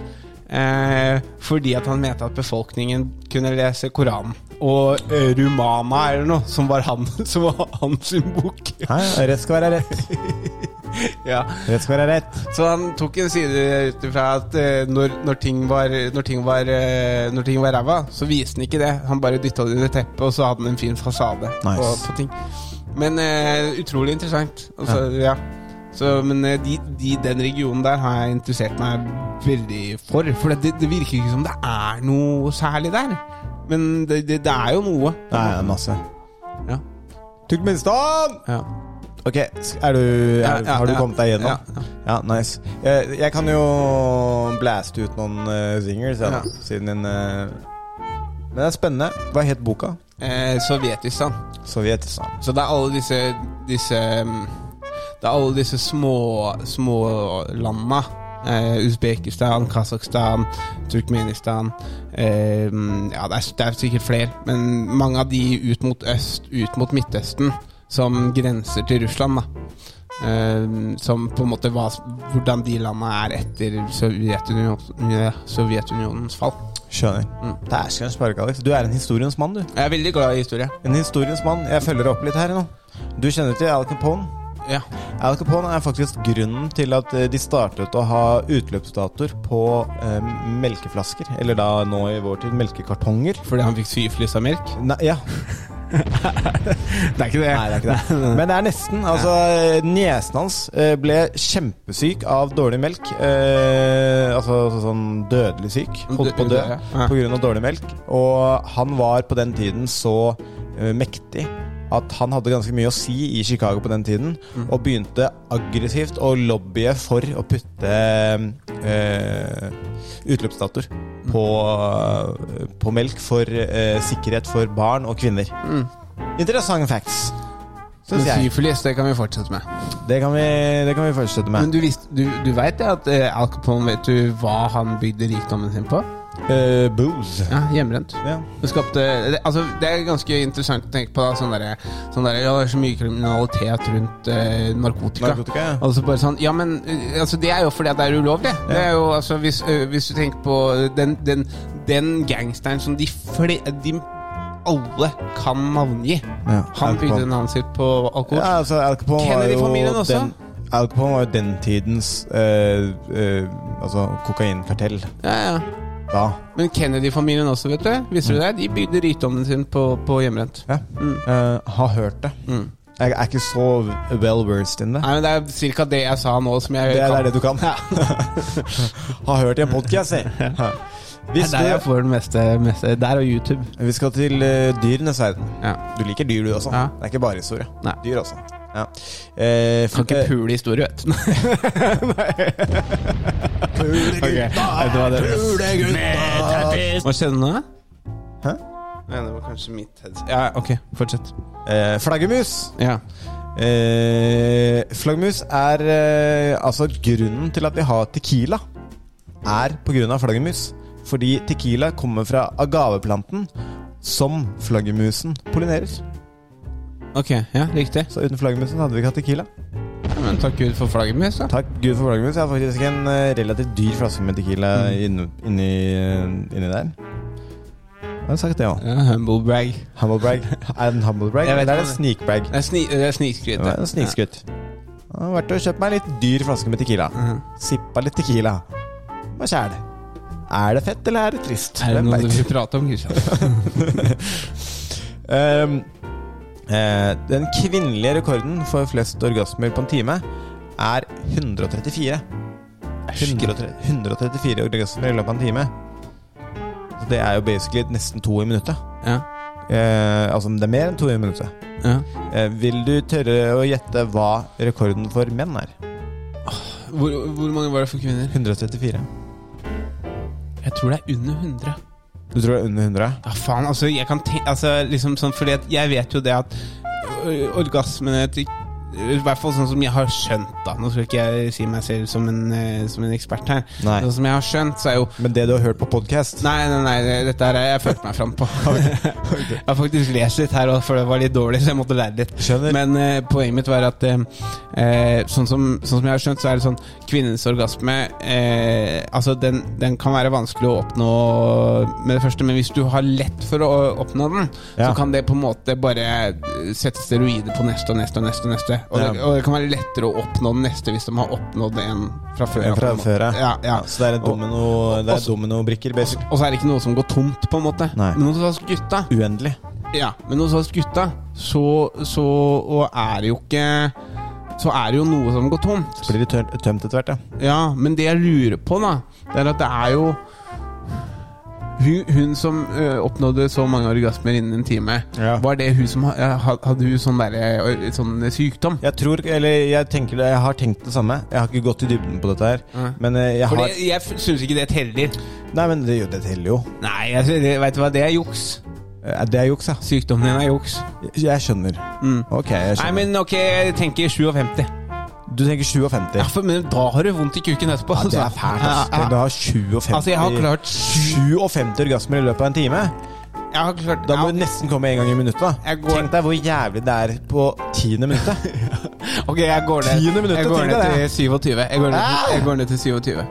Speaker 2: eh, fordi at han mente at befolkningen kunne lese Koranen. Og eh, Rumana eller noe, som var, han, som var hans sin bok.
Speaker 3: Hæ? Rett skal være rett.
Speaker 2: Ja.
Speaker 3: Rett skal være rett.
Speaker 2: Så han tok en side ut ifra at eh, når, når ting var Når ting var, eh, når ting var ræva, så viste han ikke det. Han bare dytta det under teppet, og så hadde han en fin fasade
Speaker 3: Nice.
Speaker 2: på, på ting. Men eh, utrolig interessant. Altså, ja. Så, men eh, de, de, den regionen der har jeg interessert meg veldig for. For det, det virker ikke som det er noe særlig der. Men det, det, det er jo noe.
Speaker 3: Nei, det er masse.
Speaker 2: Ja.
Speaker 3: Turkmenistan!
Speaker 2: Ja.
Speaker 3: Ok, sk- er du, er,
Speaker 2: Ja, ja,
Speaker 3: har du
Speaker 2: ja.
Speaker 3: kommet deg gjennom?
Speaker 2: Ja,
Speaker 3: Ja, nice. Jeg, jeg kan jo blaste ut noen eh, singers, jeg, da,
Speaker 2: Ja.
Speaker 3: siden din eh, Men det er spennende. Hva het boka?
Speaker 2: Eh, Sovjetistan.
Speaker 3: Sovjetistan.
Speaker 2: Så det er alle disse, disse um, Det er alle disse små, små landene. Eh, Usbekistan, Kasakhstan, Turkmenistan eh, Ja, det er, det er sikkert flere, men mange av de ut mot øst, ut mot Midtøsten, som grenser til Russland, da. Eh, som på en måte hva, hvordan de landene er etter Sovjetunion, ja, Sovjetunionens fall.
Speaker 3: Skjønner.
Speaker 2: Mm.
Speaker 3: Dæsken sparke, Alex. Du er en historiens mann, du.
Speaker 2: Jeg er veldig glad i historie.
Speaker 3: En historiens mann. Jeg følger opp litt her nå. Du kjenner til Al Capone?
Speaker 2: Ja.
Speaker 3: Al Capone er faktisk grunnen til at eh, de startet å ha utløpsdatoer på eh, melkeflasker. Eller da nå i vår tid melkekartonger.
Speaker 2: Fordi han fikk syfilis av melk?
Speaker 3: Nei, ja.
Speaker 2: Det er ikke det.
Speaker 3: Nei, det er ikke det. Men det er nesten. Altså, niesen hans eh, ble kjempesyk av dårlig melk. Eh, altså altså sånn dødelig syk. Holdt på å dø
Speaker 2: Død, ja.
Speaker 3: pga. dårlig melk. Og han var på den tiden så eh, mektig at han hadde ganske mye å si i Chicago på den tiden, og begynte aggressivt å lobbye for å putte eh, utløpsdatoer på, på melk for eh, sikkerhet for barn og kvinner. Interessante facts.
Speaker 2: Men
Speaker 3: Synes jeg.
Speaker 2: syfilis, det kan vi fortsette med.
Speaker 3: Det kan vi, det kan vi fortsette med.
Speaker 2: Men du, visste- du, du veit at eh, Al Capone Vet du hva han bygde rikdommen sin på?
Speaker 3: Eh, booze.
Speaker 2: Ja, hjemmebrent.
Speaker 3: Ja.
Speaker 2: Det, skapte, det, altså, det er ganske interessant å tenke på. Da, sånn derre- sånn derre, ja, det er så mye kriminalitet rundt eh, narkotika.
Speaker 3: Narkotika, ja.
Speaker 2: Altså bare sånn, ja, men eh, altså, Det er jo fordi at det er ulovlig. Det er jo, altså, hvis, eh, hvis du tenker på den, den, den gangsteren som de, fle, de alle kan navngi
Speaker 3: Ja,
Speaker 2: Han
Speaker 3: Al Capone.
Speaker 2: bygde navnet sitt på alkohol.
Speaker 3: Ja, altså, Al Capone var
Speaker 2: Kennedy-familien
Speaker 3: jo
Speaker 2: også?
Speaker 3: den, Al Capone var jo den tidens eh, eh, altså, kokainkartell.
Speaker 2: Ja, ja.
Speaker 3: Da.
Speaker 2: Men Kennedy-familien også, vet du. Visste du det? De bygde rikdommen sin på, på hjemmebrent.
Speaker 3: Ja.
Speaker 2: Mm.
Speaker 3: Eh, har hørt det. Jeg er ikke så well versed in det.
Speaker 2: Nei, men Det er cirka det jeg sa nå, som jeg
Speaker 3: Det er, det
Speaker 2: kan.
Speaker 3: er det du kan. har hørt i en podkast, jeg. Hvis
Speaker 2: Det er der jeg
Speaker 3: du,
Speaker 2: får den meste, meste Der og YouTube.
Speaker 3: vi skal til eh, dyrenes verden.
Speaker 2: Ja.
Speaker 3: Du liker dyr, du også.
Speaker 2: Ja.
Speaker 3: Det er ikke bare historie.
Speaker 2: Nei.
Speaker 3: Dyr også. Ja. Eh,
Speaker 2: Kan ikke
Speaker 3: eh,
Speaker 2: pule historie, vet du. Hva skjedde nå?
Speaker 3: Hæ?
Speaker 2: Nei, det var kanskje mitt headset. Ja, ok, fortsett.
Speaker 3: eh, flaggermus.
Speaker 2: Ja.
Speaker 3: Eh, flaggermus er eh, Altså, grunnen til at vi har tequila, er på grunn av flaggermus. Fordi tequila kommer fra agaveplanten som flaggermusen pollinerer.
Speaker 2: Ok, ja, riktig.
Speaker 3: Så uten flaggermusen hadde vi ikke hatt tequila.
Speaker 2: Ja, men takk Gud for flagget mitt, da.
Speaker 3: Takk Gud for flaggermus. Jeg har faktisk en eh, relativt dyr flaske med tequila
Speaker 2: Mm.
Speaker 3: inni, inni, inni der. Jeg har sagt det òg.
Speaker 2: Ja, humble brag.
Speaker 3: Humble brag. Er det en humble brag?
Speaker 2: Jeg vet
Speaker 3: Eller er det
Speaker 2: ikke.
Speaker 3: sneak brag?
Speaker 2: Det er, sni, det er snikskryt.
Speaker 3: Det var en snikskryt. Jeg har vært og kjøpt meg en litt dyr flaske med tequila.
Speaker 2: Mm. Mhm.
Speaker 3: Sippa litt tequila. Hva skjer det? Er det fett, eller er det trist?
Speaker 2: Ja. Er det
Speaker 3: Hvem
Speaker 2: noe du
Speaker 3: vet?
Speaker 2: vil prate om, Kristian?
Speaker 3: Ehm, eh, den kvinnelige rekorden for flest orgasmer på en time er 134. 130 134 orgasmer i løpet av en time. Så det er jo basically nesten to i minuttet.
Speaker 2: Ja.
Speaker 3: Eh, altså, det er mer enn to i minuttet.
Speaker 2: ja.
Speaker 3: Eh, vil du tørre å gjette hva rekorden for menn er?
Speaker 2: Hvor, hvor mange var det for kvinner?
Speaker 3: 134.
Speaker 2: Jeg tror det er under 100.
Speaker 3: Du tror det er under 100?
Speaker 2: Ja, faen, altså, jeg kan tenke altså, liksom sånn, Fordi at jeg vet jo det at ø, orgasmene til I hvert fall sånn som jeg har skjønt, da. Nå skal ikke jeg si meg selv som en, ø, som en ekspert her.
Speaker 3: Nei.
Speaker 2: Sånn som jeg har skjønt, så er jo
Speaker 3: Men det du har hørt på podkast
Speaker 2: Nei, nei, nei, det- dette her har jeg følt meg fram på. Jeg har faktisk lest litt her, også, for det var litt dårlig, så jeg måtte lære litt.
Speaker 3: Skjønner.
Speaker 2: Men eh, poenget mitt var at eh, eh, sånn, som, sånn som jeg har skjønt, så er det sånn kvinnens orgasme eh, Altså, den, den kan være vanskelig å oppnå med det første, men hvis du har lett for å oppnå den, så
Speaker 3: Ja.
Speaker 2: kan det på en måte bare eh, sette steroider på neste og neste og neste. Og, neste. Og, det,
Speaker 3: Ja.
Speaker 2: og det kan være lettere å oppnå den neste hvis de har oppnådd en fra før.
Speaker 3: En fra
Speaker 2: på en måte.
Speaker 3: før, ja.
Speaker 2: ja, ja.
Speaker 3: Så det er et domino- det er
Speaker 2: Også-
Speaker 3: dominobrikker, basic.
Speaker 2: Og så er det ikke noe som går tomt, på en måte.
Speaker 3: Nei.
Speaker 2: Men hos oss gutta
Speaker 3: Uendelig.
Speaker 2: ja, men hos oss gutta så, så og er det jo ikke Så er det jo noe som går tomt.
Speaker 3: Blir det tømt, tømt etter hvert, ja.
Speaker 2: Ja, men det jeg lurer på, da, det er at det er jo hun, hun som ø, oppnådde så mange orgasmer innen en time,
Speaker 3: Ja.
Speaker 2: var det hun som ha- ha- hadde hun sånn, derre, ø, sånn sykdom?
Speaker 3: Jeg tror, eller jeg tenker det, jeg har tenkt det samme. Jeg har ikke gått i dybden på dette her. Men eh, jeg
Speaker 2: For
Speaker 3: har
Speaker 2: det, jeg f- syns ikke det teller.
Speaker 3: Nei, men det, det teller jo.
Speaker 2: Nei, jeg, sy- det- vet du hva, det er juks.
Speaker 3: Eh, Det er juks, ja.
Speaker 2: Sykdommen din er juks.
Speaker 3: Jeg- Jeg skjønner. Ok, jeg
Speaker 2: Mm. Nei,
Speaker 3: skjønner.
Speaker 2: men ok, jeg tenker 57.
Speaker 3: Du tenker 57.
Speaker 2: Ja, for, men da har du vondt i kuken etterpå.
Speaker 3: Ja, det
Speaker 2: altså.
Speaker 3: er fælt, ass.
Speaker 2: Ja, ja.
Speaker 3: Men du har 57
Speaker 2: Altså, jeg har klart
Speaker 3: 57 orgasmer i løpet av en time.
Speaker 2: Jeg har klart
Speaker 3: Da
Speaker 2: ja,
Speaker 3: må du nesten komme en gang i minuttet. da
Speaker 2: Jeg går-
Speaker 3: Tenk deg hvor jævlig det er på tiende minuttet.
Speaker 2: Ok, jeg går ned,
Speaker 3: Tiende minuttet,
Speaker 2: jeg går
Speaker 3: tenk
Speaker 2: ned
Speaker 3: deg
Speaker 2: til
Speaker 3: det.
Speaker 2: 27. Jeg går ned,
Speaker 3: Ah!
Speaker 2: til- jeg går ned til 27.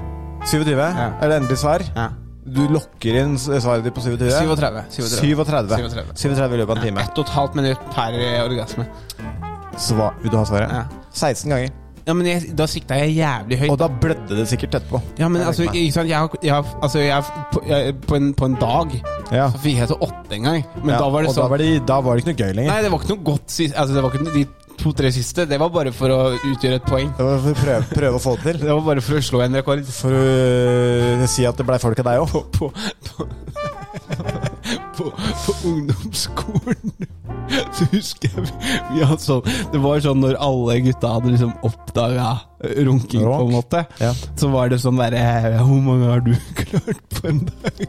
Speaker 3: 27? Er det endelig svar?
Speaker 2: Ja.
Speaker 3: Du lokker inn s- svaret ditt på 27?
Speaker 2: 37.
Speaker 3: 37.
Speaker 2: 37.
Speaker 3: 37 i løpet av en time.
Speaker 2: Ett og et halvt minutt per eh, orgasme.
Speaker 3: Sva, vil du ha svaret?
Speaker 2: Ja.
Speaker 3: 16 ganger.
Speaker 2: Ja, men jeg, Da sikta jeg jævlig høyt.
Speaker 3: Og da blødde det sikkert etterpå.
Speaker 2: Ja, men
Speaker 3: Jeg
Speaker 2: altså,
Speaker 3: tenker meg.
Speaker 2: ikke sant, jeg, har, jeg, har, altså jeg, har- på, jeg på, en, på en dag
Speaker 3: Ja.
Speaker 2: så fikk jeg til åtte en gang. Men
Speaker 3: Ja,
Speaker 2: da var det
Speaker 3: og da
Speaker 2: sånn
Speaker 3: var, det, da var det ikke noe gøy lenger.
Speaker 2: Nei, det var ikke noe godt sist, altså, det var ikke de to-tre siste. Det var bare for å utgjøre et poeng.
Speaker 3: Det var for å prøve, prøve å få det til.
Speaker 2: Det var bare for å slå en rekord.
Speaker 3: For å øh, si at det blei folk av deg òg.
Speaker 2: på, på, på, på ungdomsskolen Så husker jeg vi, vi hadde sånn Det var sånn når alle gutta hadde liksom oppdaga runking, på en måte.
Speaker 3: Ja.
Speaker 2: Så var det sånn derre Hvor mange har du klart på en dag?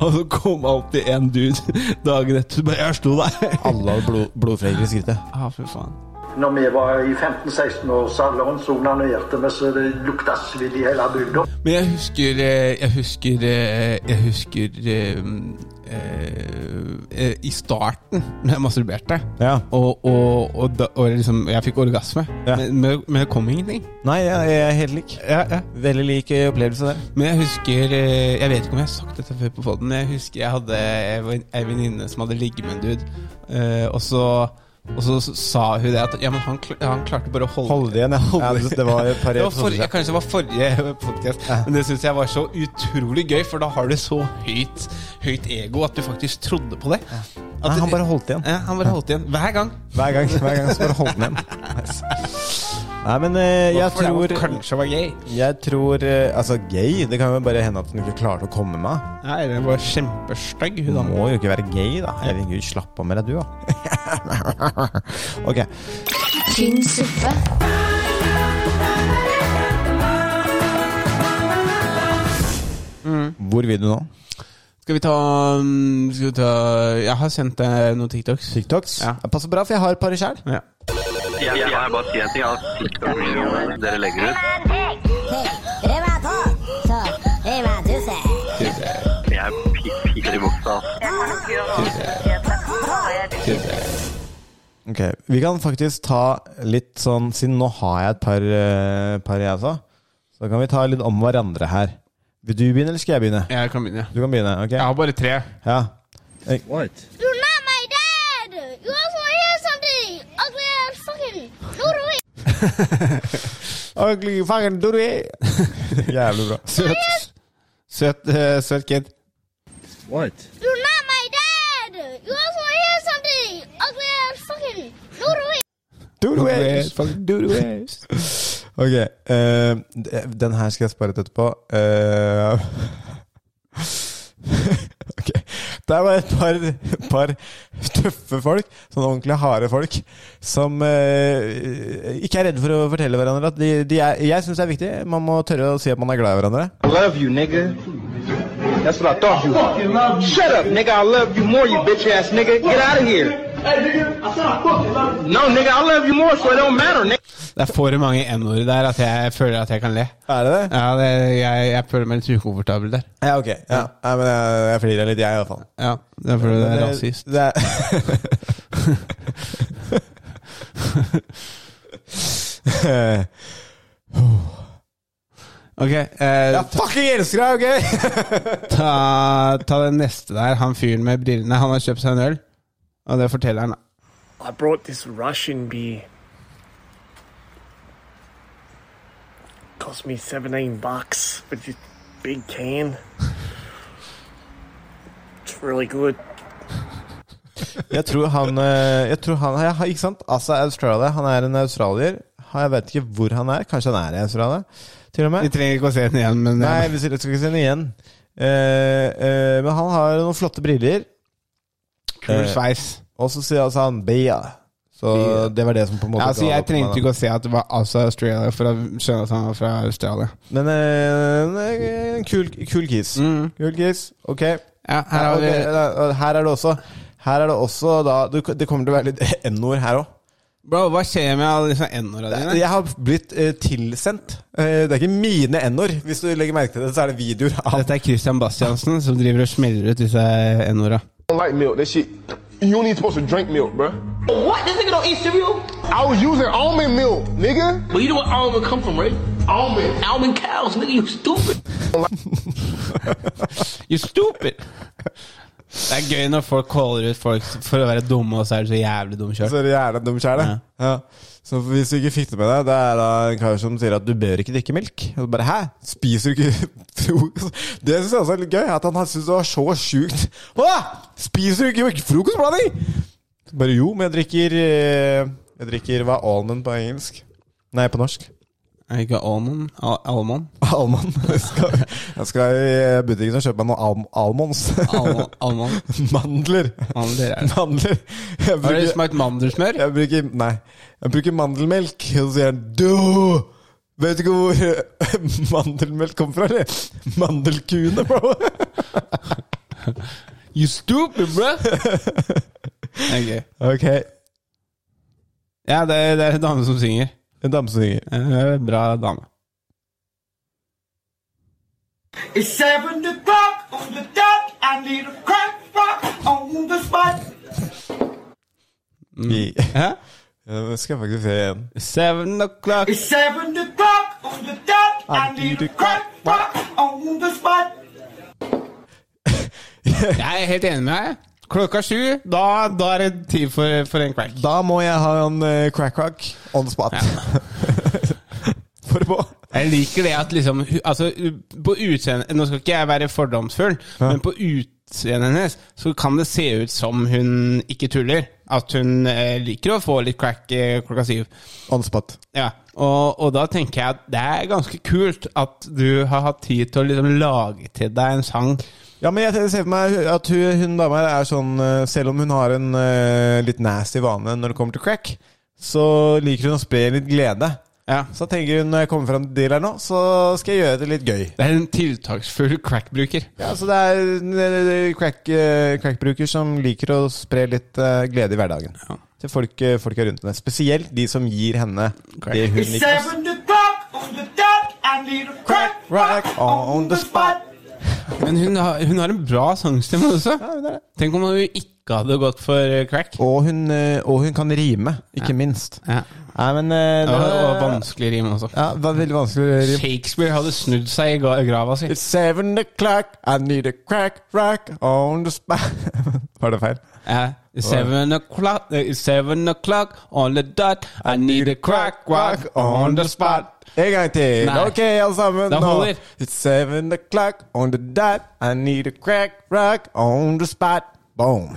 Speaker 2: Og så kom alltid en dude dagen etter og bare Jeg slo deg!
Speaker 3: Alle hadde blod, blodflekker i skrittet.
Speaker 2: Ja, fy faen.
Speaker 6: Når vi var i 15-16 år, så Alonso onanerte vi så det lukta svidd i hele bygda.
Speaker 2: Men jeg husker eh, Jeg husker eh, Jeg husker eh, eh, eh, I starten, når jeg masturberte,
Speaker 3: Ja.
Speaker 2: og, og, og, da, og liksom, jeg fikk orgasme,
Speaker 3: Ja.
Speaker 2: men, men, men det kom ingenting.
Speaker 3: Nei, jeg, jeg er helt lik.
Speaker 2: Ja, ja.
Speaker 3: Veldig lik eh, opplevelse der.
Speaker 2: Men jeg husker eh, Jeg vet ikke om jeg har sagt dette før på podden men jeg husker jeg hadde jeg var en- ei venninne som hadde ligget med en dude, eh, og så og så s- sa hun det at ja, men han, kl- han klarte bare å holde
Speaker 3: Hold det igjen, jeg holder
Speaker 2: Ja,
Speaker 3: det. Det var et par
Speaker 2: det var
Speaker 3: episoder
Speaker 2: forrige,
Speaker 3: siden.
Speaker 2: Kanskje det var forrige podkast, men det syns jeg var så utrolig gøy, for da har du så høyt, høyt ego at du faktisk trodde på det. At
Speaker 3: Nei, han
Speaker 2: det-
Speaker 3: bare holdt igjen.
Speaker 2: ja, han bare holdt igjen. Hver gang.
Speaker 3: Hver gang, hver gang så bare holdt den igjen. Nei, men eh, jeg
Speaker 2: For det var
Speaker 3: tror
Speaker 2: kanskje var gay.
Speaker 3: Jeg tror eh, Altså, gay? Det kan jo bare hende at hun ikke klarte å komme med.
Speaker 2: Nei, den var kjempestygg, hun
Speaker 3: Du
Speaker 2: dama.
Speaker 3: må jo ikke være gay, da. Herregud, slapp av med deg, du, da. ok.
Speaker 1: tynn suppe,
Speaker 3: Hvor vil du nå?
Speaker 2: Skal vi ta mm, Skal vi ta Jeg har sendt deg noen TikToks.
Speaker 3: TikToks?
Speaker 2: Ja.
Speaker 3: Det passer bra, for jeg har et par sjæl.
Speaker 2: Ja.
Speaker 9: Jeg, jeg har bare si en ting. at TikTok-videoene dere legger ut Jeg er pi- piker i buksa.
Speaker 3: Ok, Vi kan faktisk ta litt sånn Siden nå har jeg et par, eh, par jeg også, så kan vi ta litt om hverandre her. Vil du begynne, eller skal jeg begynne?
Speaker 2: Jeg kan begynne.
Speaker 3: Du kan begynne. ok?
Speaker 2: Jeg har bare tre.
Speaker 3: Ja.
Speaker 10: You're not my dad! You also want to hear something? Ugly ass fucking noodle
Speaker 3: Ugly fucking dory. Jævlig bra.
Speaker 2: Søt. Søt, eh, søt kid.
Speaker 10: You're not my dad! You also want to hear something? Ugly ass fucking noodle
Speaker 3: Doodle-ways. Ok, eh, d- den her skal jeg spare til etterpå. Eh, ok. Det er bare et par, par tøffe folk, sånn ordentlig harde folk, som eh, ikke er redde for å fortelle hverandre at de, de er Jeg syns det er viktig. Man må tørre å si at man er glad i hverandre.
Speaker 9: I love you, nigga. That's what I thought you was. Shut up, nigga. I love you more, you bitch ass nigga. Get out of here. No, nigga, I love you more, so it don't matter, nigga.
Speaker 2: Det er for mange n-ord der at jeg føler at jeg kan le.
Speaker 3: Er det det?
Speaker 2: Ja, det, jeg, jeg føler meg litt ukomfortabel der.
Speaker 3: Ja, ok. Ja. Nei, men jeg, jeg flirer litt, jeg, iallfall.
Speaker 2: Ja, det er fordi det er rasist.
Speaker 3: eh, Det er Eh,
Speaker 2: Ok, eh,
Speaker 3: Jeg fucking elsker deg, OK?
Speaker 2: ta, ta den neste der. Han fyren med brillene, han har kjøpt seg en øl. Og det forteller han, da.
Speaker 9: I brought this Russian beer. Cost me 17 bucks for this big can. It's really good.
Speaker 3: Jeg tror han, eh, jeg tror han ja, Ikke sant? Asa Australia. Han er en australier. Han- Jeg vet ikke hvor han er. Kanskje han er i Australia, til og
Speaker 2: Vi
Speaker 3: med?
Speaker 2: trenger ikke å se den igjen, men
Speaker 3: Nei, vi skal skal ikke se den igjen. Eh, eh, men han har noen flotte briller.
Speaker 2: kul sveis.
Speaker 3: Og så sier altså han Bia. Så det var det som på en måte
Speaker 2: Ja, altså,
Speaker 3: ga
Speaker 2: jeg
Speaker 3: opp meg,
Speaker 2: trengte
Speaker 3: da.
Speaker 2: ikke å se at det var altså Australia for å skjønne at han var fra Australia.
Speaker 3: Men eh, en kul, kul kis. Kul kis. Ok.
Speaker 2: Ja, Mm. her har vi
Speaker 3: Ok, da- her er det også Her er det også da du, Det kommer til å være litt N-ord her òg.
Speaker 2: Bro, hva skjer med alle disse n-ordene dine?
Speaker 3: Jeg har blitt eh, tilsendt. Eh, det er ikke mine n-ord. Hvis du legger merke til det, så er det videoer av
Speaker 2: Dette er Christian Bastiansen som driver og smeller ut disse n-orda.
Speaker 9: don't like milk. That shit. You ain't even supposed to drink milk, bruh. What? This nigga don't eat cereal? I was using almond milk, nigga. Well, you know where almond come from, right? Almond. Almond cows, nigga. You stupid.
Speaker 2: You stupid! Det er gøy når folk caller ut folk for å være dumme, og så er du så jævlig dum sjøl.
Speaker 3: Så er det jævla dum sjæl, det. Ja. Så hvis du ikke fikk det med deg, det er da en kar som sier at du bør ikke drikke melk. Og så bare hæ? Spiser du ikke frokost? Det syns jeg også er litt gøy. At han syntes det var så sjukt. Hva? Spiser du ikke frokostblanding? Så Bare jo, men jeg drikker eh, Jeg drikker hva? Almond på engelsk? Nei, på norsk.
Speaker 2: Er det ikke almond? Al almond?
Speaker 3: Almond. Jeg skal, jeg skal i butikken og kjøpe meg noen alm almonds.
Speaker 2: Al almond.
Speaker 3: Mandler.
Speaker 2: Mandler er det.
Speaker 3: Mandler. Jeg
Speaker 2: Har du
Speaker 3: bruker,
Speaker 2: smakt mandelsmør?
Speaker 3: jeg bruker Nei. Jeg bruker mandelmelk, og så sier han du! Vet du ikke hvor mandelmelk kommer fra, eller? Mandelkuene, bro.
Speaker 2: You stupid, bro! Det er gøy.
Speaker 3: Ok.
Speaker 2: Ja, det er, det er en dame som synger.
Speaker 3: En dame som synger.
Speaker 2: Bra dame.
Speaker 11: It's seven o'clock on the dot. I need a crack rock on the spot.
Speaker 3: I- Ja, det skal jeg faktisk se igjen.
Speaker 2: Seven o'clock.
Speaker 11: It's seven o'clock on the dot. I need a crack rock on the spot.
Speaker 2: Jeg er helt enig med deg. Klokka sju, da, da er det tid for, for en crack.
Speaker 3: Da må jeg ha en eh, crack rock on the spot. for på.
Speaker 2: Jeg liker det at liksom hu- altså, u- på utseendet Nå skal ikke jeg være fordomsfull, men på utseendet hennes så kan det se ut som hun ikke tuller. At hun eh, liker å få litt crack eh, klokka syv.
Speaker 3: On the spot.
Speaker 2: Ja, og, og da tenker jeg at det er ganske kult at du har hatt tid til å liksom lage til deg en sang.
Speaker 3: Ja, men jeg ser for meg at hun, hun dama her er sånn eh, Selv om hun har en eh, litt nasty vane når det kommer til crack, så liker hun å spre litt glede.
Speaker 2: Ja.
Speaker 3: Så tenker hun når jeg kommer fram til dealeren nå, så skal jeg gjøre det litt gøy.
Speaker 2: Det er en tiltaksfull crack-bruker.
Speaker 3: Ja, Så det er eh, crack, eh, crack-bruker som liker å spre litt eh, glede i hverdagen. Til folk, eh, folk rundt henne. Spesielt de som gir henne det hun
Speaker 11: It's
Speaker 3: liker.
Speaker 11: seven o'clock on the dot. I need a crack
Speaker 3: Rock on the spot.
Speaker 2: Men hun har, hun har en bra sangstemme også. Tenk om hun ikke hadde gått for crack.
Speaker 3: Og hun, eh, og hun kan rime, ikke minst.
Speaker 2: Ja.
Speaker 3: Nei, men eh,
Speaker 2: Ja,
Speaker 3: det-
Speaker 2: og vanskelig rim også.
Speaker 3: Ja, det var veldig vanskelig å rime.
Speaker 2: Shakespeare hadde snudd seg i ga- grava si.
Speaker 3: It's seven o'clock, I need a crack rock on the spot. Var det feil?
Speaker 2: Ja. Seven o'clock, eh, seven o'clock on the dot, I need a crack rock on the spot.
Speaker 3: En gang til.
Speaker 2: Nei.
Speaker 3: Ok, alle sammen.
Speaker 2: Da
Speaker 3: nå.
Speaker 2: holder.
Speaker 3: It's seven o'clock on the dot, I need a crack rock on the spot. Boom.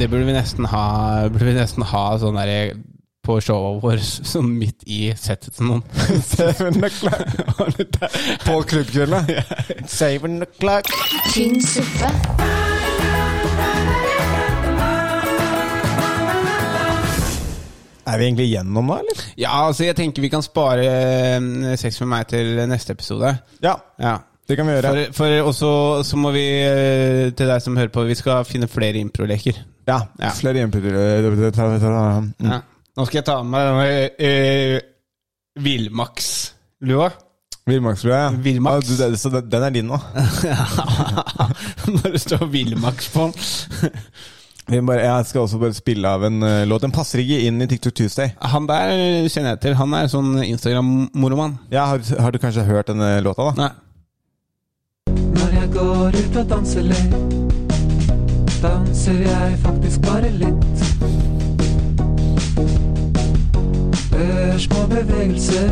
Speaker 2: Det burde vi nesten ha, burde vi nesten ha sånn der på showet vår, sånn midt i settet til noen.
Speaker 3: Seven o'clock on the dot. På klubbkvelden. It's Seven o'clock.
Speaker 1: Tynn suppe.
Speaker 3: Er vi egentlig gjennom nå, eller?
Speaker 2: Ja, altså jeg tenker vi kan spare eh, sex med meg til neste episode.
Speaker 3: Ja,
Speaker 2: Ja.
Speaker 3: det kan vi gjøre.
Speaker 2: For, for også så må vi, eh, til deg som hører på, vi skal finne flere improleker.
Speaker 3: Ja,
Speaker 2: Ja.
Speaker 3: flere Eh, hjemmeputer.
Speaker 2: Ja. Mm. Nå skal jeg ta med meg denne eh, villmaks-lua.
Speaker 3: Villmarkslua, ja.
Speaker 2: Villmarks.
Speaker 3: Ah, du, det- så den den er din nå?
Speaker 2: Når det står villmaks på den.
Speaker 3: Vi må bare, jeg skal også bare spille av en eh, låt. Den passer ikke inn i TikTok Tuesday.
Speaker 2: Han der kjenner jeg til. Han er sånn Instagram-moroman.
Speaker 3: Ja, har, har du kanskje hørt denne låta, da?
Speaker 2: Nei.
Speaker 12: Når jeg går ut og danser litt, danser jeg faktisk bare litt. Gjør små bevegelser,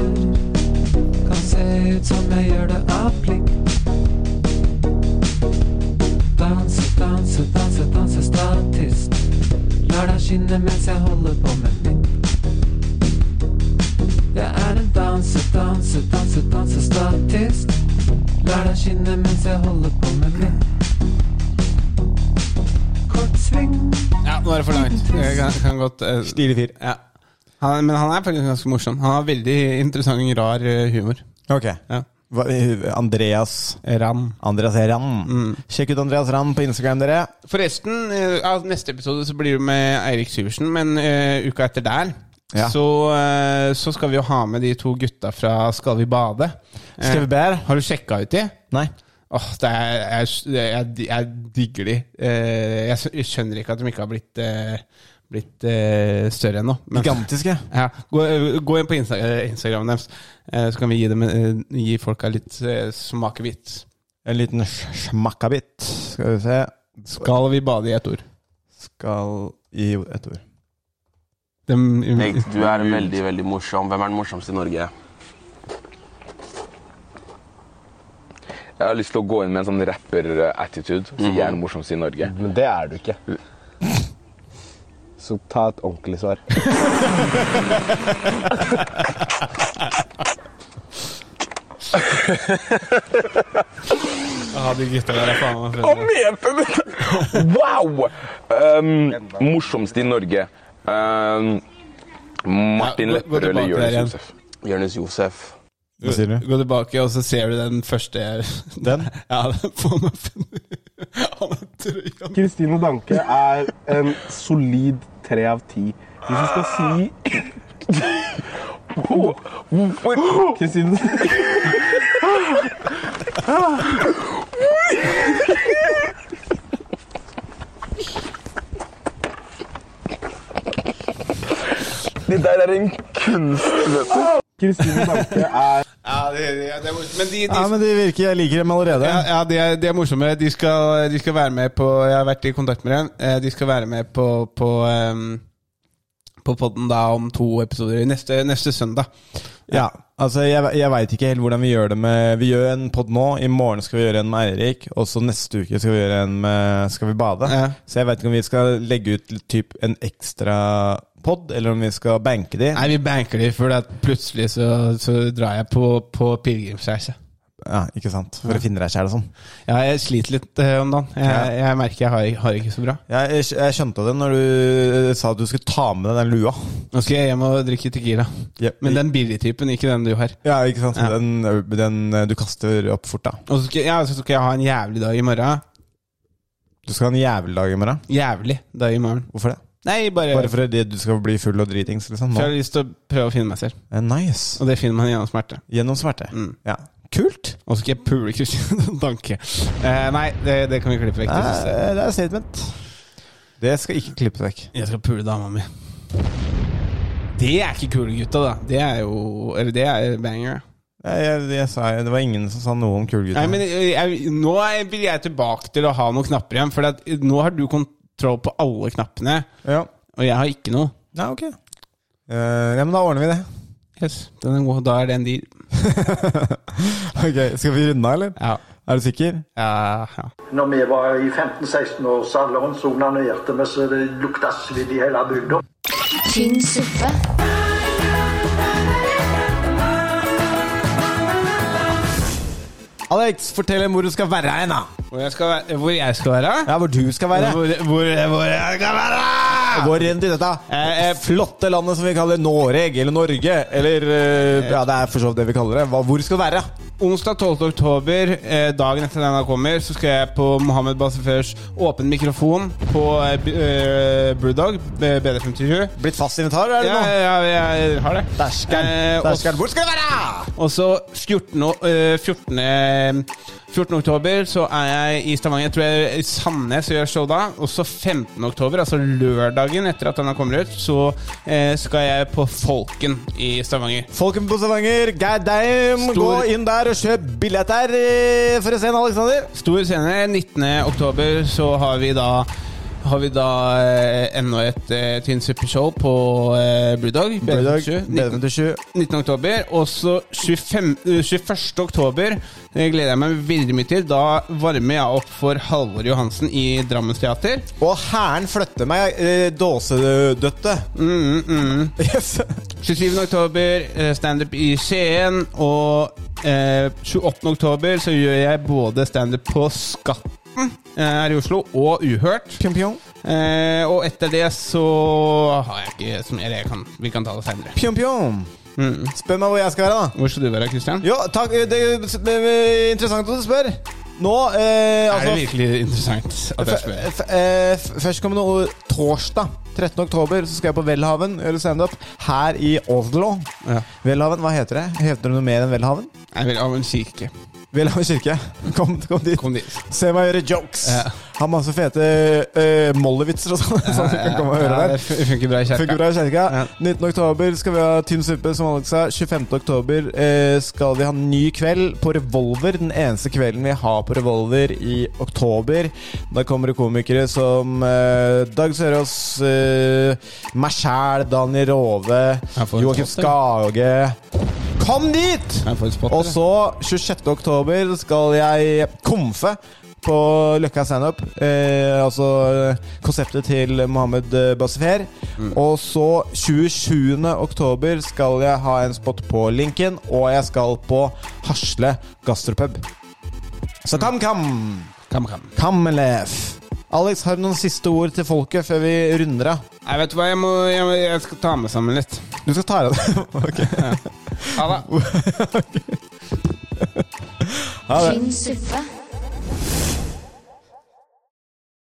Speaker 12: kan se ut som jeg gjør det av plikt. Danse, danse, danse, danse statist. Lar deg skinne mens jeg holder på med mitt. Jeg er en danse, danse, danse, danse statist. Lar deg skinne mens jeg holder på med mitt. Kort sving.
Speaker 2: Ja, nå er det for langt. Jeg kan, kan godt eh,
Speaker 3: Stilig fyr.
Speaker 2: ja. han, Men han er faktisk ganske morsom. Han har veldig interessant, rar eh, humor.
Speaker 3: Ok.
Speaker 2: Ja.
Speaker 3: Hva- eh, Andreas
Speaker 2: Ram.
Speaker 3: Andreas Rand.
Speaker 2: Mm.
Speaker 3: Sjekk ut Andreas Rand på Instagram, dere.
Speaker 2: Forresten, eh, av neste episode så blir det med Eirik Syversen, men eh, uka etter der
Speaker 3: Ja.
Speaker 2: så, eh, så skal vi jo ha med de to gutta fra Skal vi bade. Eh,
Speaker 3: Skal vi bære?
Speaker 2: Har du sjekka ut de?
Speaker 3: Nei.
Speaker 2: Åh, det er, jeg, jeg, jeg digger de. Eh, jeg skj- jeg skjønner ikke at de ikke har blitt, eh, blitt eh, større ennå. Men-
Speaker 3: Gigantiske.
Speaker 2: Ja, gå, gå inn på Insta eh, Instagram deres, eh, så kan vi gi, dem, eh, gi folka litt eh, smakebit.
Speaker 3: En liten sj- smakkabit. Skal vi se.
Speaker 2: Skal vi bade i ett ord?
Speaker 3: Skal i et ord.
Speaker 2: Dem-
Speaker 13: Bengt, du er veldig, veldig morsom. Hvem er den morsomste i Norge?
Speaker 14: Jeg har lyst til å gå inn med en sånn rapper-attitude. Så jeg er den morsomste i Norge. Men det er du ikke. Så ta et ordentlig svar.
Speaker 2: Ja, de gutta der er faen meg fete.
Speaker 14: Kom igjen, Pelle! Wow! Um, morsomste i Norge. Um, Martin
Speaker 2: Ja, gå- gå
Speaker 14: Lepperød eller
Speaker 2: tilbake der
Speaker 14: Jonis
Speaker 2: igjen.
Speaker 14: Josef? Jonis Josef.
Speaker 3: Hva sier du?
Speaker 2: Gå tilbake, og så ser du den første
Speaker 3: Den?
Speaker 2: Ja, den får meg Han er trøya
Speaker 13: Kristine Danke er en solid
Speaker 14: tre av ti. Hvis du skal si Hvorfor Kristine Det der er en kunst, vet du. Kristine Danke er
Speaker 2: Ja, det, ja, det er morsomt. Men de, de,
Speaker 3: Ja, men de virker Jeg liker dem allerede.
Speaker 2: ja, ja, de, er, de er morsomme. De skal, de skal være med på Jeg har vært i kontakt med dem. Eh, De skal være med på, på, ehm, på podden da om to episoder neste, neste søndag.
Speaker 3: Ja, altså jeg, jeg veit ikke helt hvordan vi gjør det med Vi gjør en pod nå, i morgen skal vi gjøre en med Eirik, og så neste uke skal vi gjøre en med Skal vi bade? Så jeg veit ikke om vi skal legge ut typ en ekstra pod, eller om vi skal banke de.
Speaker 2: Nei, vi banker de, for at plutselig så, så drar jeg på, på pilegrimsreise.
Speaker 3: Ja, ikke sant. For å finne deg sjæl og sånn.
Speaker 2: Ja, jeg sliter litt eh, om dagen. Jeg, jeg merker jeg har, har det ikke så bra.
Speaker 3: Jeg, jeg, jeg skjønte det når du eh, sa at du skulle ta med deg den lua.
Speaker 2: Nå skal jeg hjem og drikke Tequila. Men den billigtypen, ikke den du har.
Speaker 3: Ja, ikke sant. Den, den eh, du kaster opp fort, da.
Speaker 2: Og så skal, ja, så skal jeg ha en jævlig dag i morgen.
Speaker 3: Du skal ha en jævlig dag i morgen.
Speaker 2: Jævlig dag i morgen.
Speaker 3: Hvorfor det?
Speaker 2: Nei, bare,
Speaker 3: Bare fordi du skal bli full og dritings, liksom?
Speaker 2: for jeg har
Speaker 3: Nå.
Speaker 2: lyst til å prøve å finne meg selv.
Speaker 3: Eh, Nice.
Speaker 2: Og det finner man gjennom smerte.
Speaker 3: Gjennom smerte.
Speaker 2: Mm.
Speaker 3: Ja. Kult.
Speaker 2: Og så skal jeg pule Kristine Danke. Eh, nei, det, det kan vi klippe vekk.
Speaker 3: Det
Speaker 2: Det siste.
Speaker 3: er, det er statement. Det skal ikke klippes vekk.
Speaker 2: Jeg skal pule dama mi. Det er ikke kule gutta, da. Det er jo Eller det er banger.
Speaker 3: Jeg, jeg, jeg sa, jo- det var ingen som sa noe om
Speaker 2: Nei,
Speaker 3: kulegutta.
Speaker 2: men jeg, jeg, nå er- vil jeg tilbake til å ha noen knapper igjen, for at, nå har du kontroll på alle knappene,
Speaker 3: Ja.
Speaker 2: og jeg har ikke noe.
Speaker 3: Nei, ok. Eh, ja, men da ordner vi det.
Speaker 2: Yes, den er god. Da er det en deal.
Speaker 3: Ok, Skal vi runde av, eller?
Speaker 2: Ja.
Speaker 3: Er du sikker?
Speaker 2: Ja, ja.
Speaker 6: Når vi var i 15-16 år, så Alonso onanerte vi så det lukta svidd i hele bygda.
Speaker 1: Tynn suppe.
Speaker 3: Alex, fortell dem hvor du skal være hen, da.
Speaker 2: Hvor jeg skal være? Hvor, jeg skal være?
Speaker 3: Ja, hvor du skal være.
Speaker 2: Hvor, hvor, hvor jeg skal være?
Speaker 3: Hvor rent i dette
Speaker 2: Eh, eh,
Speaker 3: flotte landet som vi kaller Norge, eller Norge, eller eh, Ja, det er for så vidt det vi kaller det. Hva, hvor skal du være?
Speaker 2: Onsdag 12. oktober, eh, dagen etter denne kommer, så skal jeg på Mohammed Basefers åpen mikrofon på eh, B- eh, Brewdog, B- BD57.
Speaker 3: Blitt fast invitar, er det
Speaker 2: Ja,
Speaker 3: nå?
Speaker 2: ja, jeg har det.
Speaker 3: Dæsken.
Speaker 2: Eh, og-
Speaker 3: Dæsken. eh, Hvor skal du være?
Speaker 2: Og så 14, o- eh, 14, 14. oktober så er jeg i Stavanger. Jeg tror jeg er i Sandnes og gjør show da. Og så 15. oktober, altså lørdagen etter at den har kommet ut, så eh, skal jeg på Folken i Stavanger.
Speaker 3: Folken på Stavanger, god damn!
Speaker 2: Stor-
Speaker 3: Gå inn der og kjøp billetter eh, for å se en Alexander.
Speaker 2: Stor scene. 19. oktober så har vi da har vi da eh, enda et eh, Tynn suppe-show på eh, Brewdog.
Speaker 3: Brewdog,
Speaker 2: 19.
Speaker 3: 1927.
Speaker 2: 19. oktober. Og så 25 eh, 21. oktober eh, gleder jeg meg veldig mye til. Da varmer jeg opp for Halvor Johansen i Drammens Teater.
Speaker 3: Og hæren flytter meg, eh, dåsedøtte.
Speaker 2: Mm, mm.
Speaker 3: Yes.
Speaker 2: 27. oktober, eh, standup i Skien. Og eh, 28. oktober så gjør jeg både standup på Skatten eh, her i Oslo og Uhørt.
Speaker 3: Pjong, pjong.
Speaker 2: Eh, og etter det så har jeg ikke som, Eller jeg kan, vi kan ta det seinere.
Speaker 3: Pjong, pjong.
Speaker 2: Mm.
Speaker 3: Spør meg hvor jeg skal være, da.
Speaker 2: Hvor skal du være, Christian?
Speaker 3: Jo, takk. eh, Det er s- eh, interessant at du spør. Nå eh,
Speaker 2: Er det
Speaker 3: altså,
Speaker 2: virkelig interessant at jeg spør?
Speaker 3: f- f- eh, f- Førstkommende ord, torsdag 13. oktober så skal jeg på Welhaven gjøre standup her i Oslo.
Speaker 2: Ja.
Speaker 3: Welhaven, hva heter det? Heter det noe mer enn Welhaven?
Speaker 2: Jeg vil av en kirke.
Speaker 3: Welhaven kirke. Kom, kom dit.
Speaker 2: Kom dit.
Speaker 3: Se meg gjøre jokes.
Speaker 2: Ja.
Speaker 3: Har masse fete eh, mollevitser og sånn. Sånn at du kan komme og høre
Speaker 2: Ja,
Speaker 3: der.
Speaker 2: det fun- funker bra i kjerka.
Speaker 3: Funker bra i kjerka.
Speaker 2: Ja.
Speaker 3: 19. oktober skal vi ha Tynn suppe, som Alex sa. 25. oktober eh, skal vi ha en ny kveld på Revolver. Den eneste kvelden vi har på Revolver i oktober. Da kommer det komikere som eh, Dag Sørås, eh, meg sjæl, Daniel Rove,
Speaker 2: Jeg får en
Speaker 3: Joakim
Speaker 2: spot,
Speaker 3: Skage. Kom dit!
Speaker 2: Kan jeg få en spot?
Speaker 3: Og
Speaker 2: eller?
Speaker 3: så 26. oktober skal jeg komfe på Løkka standup. Eh, altså eh, konseptet til Mohammed eh, Basifer. Og så 27. oktober skal jeg ha en spot på Linken, og jeg skal på Hasle gastropub. Så kam, kam!
Speaker 2: Kam, kam.
Speaker 3: Kammelef! Alex, har du noen siste ord til folket før vi runder av?
Speaker 2: Nei, vet du hva, jeg, må, jeg, må- jeg skal ta meg sammen litt.
Speaker 3: Du skal ta deg det. Ok.
Speaker 2: Ha det.
Speaker 1: Tynn suppe.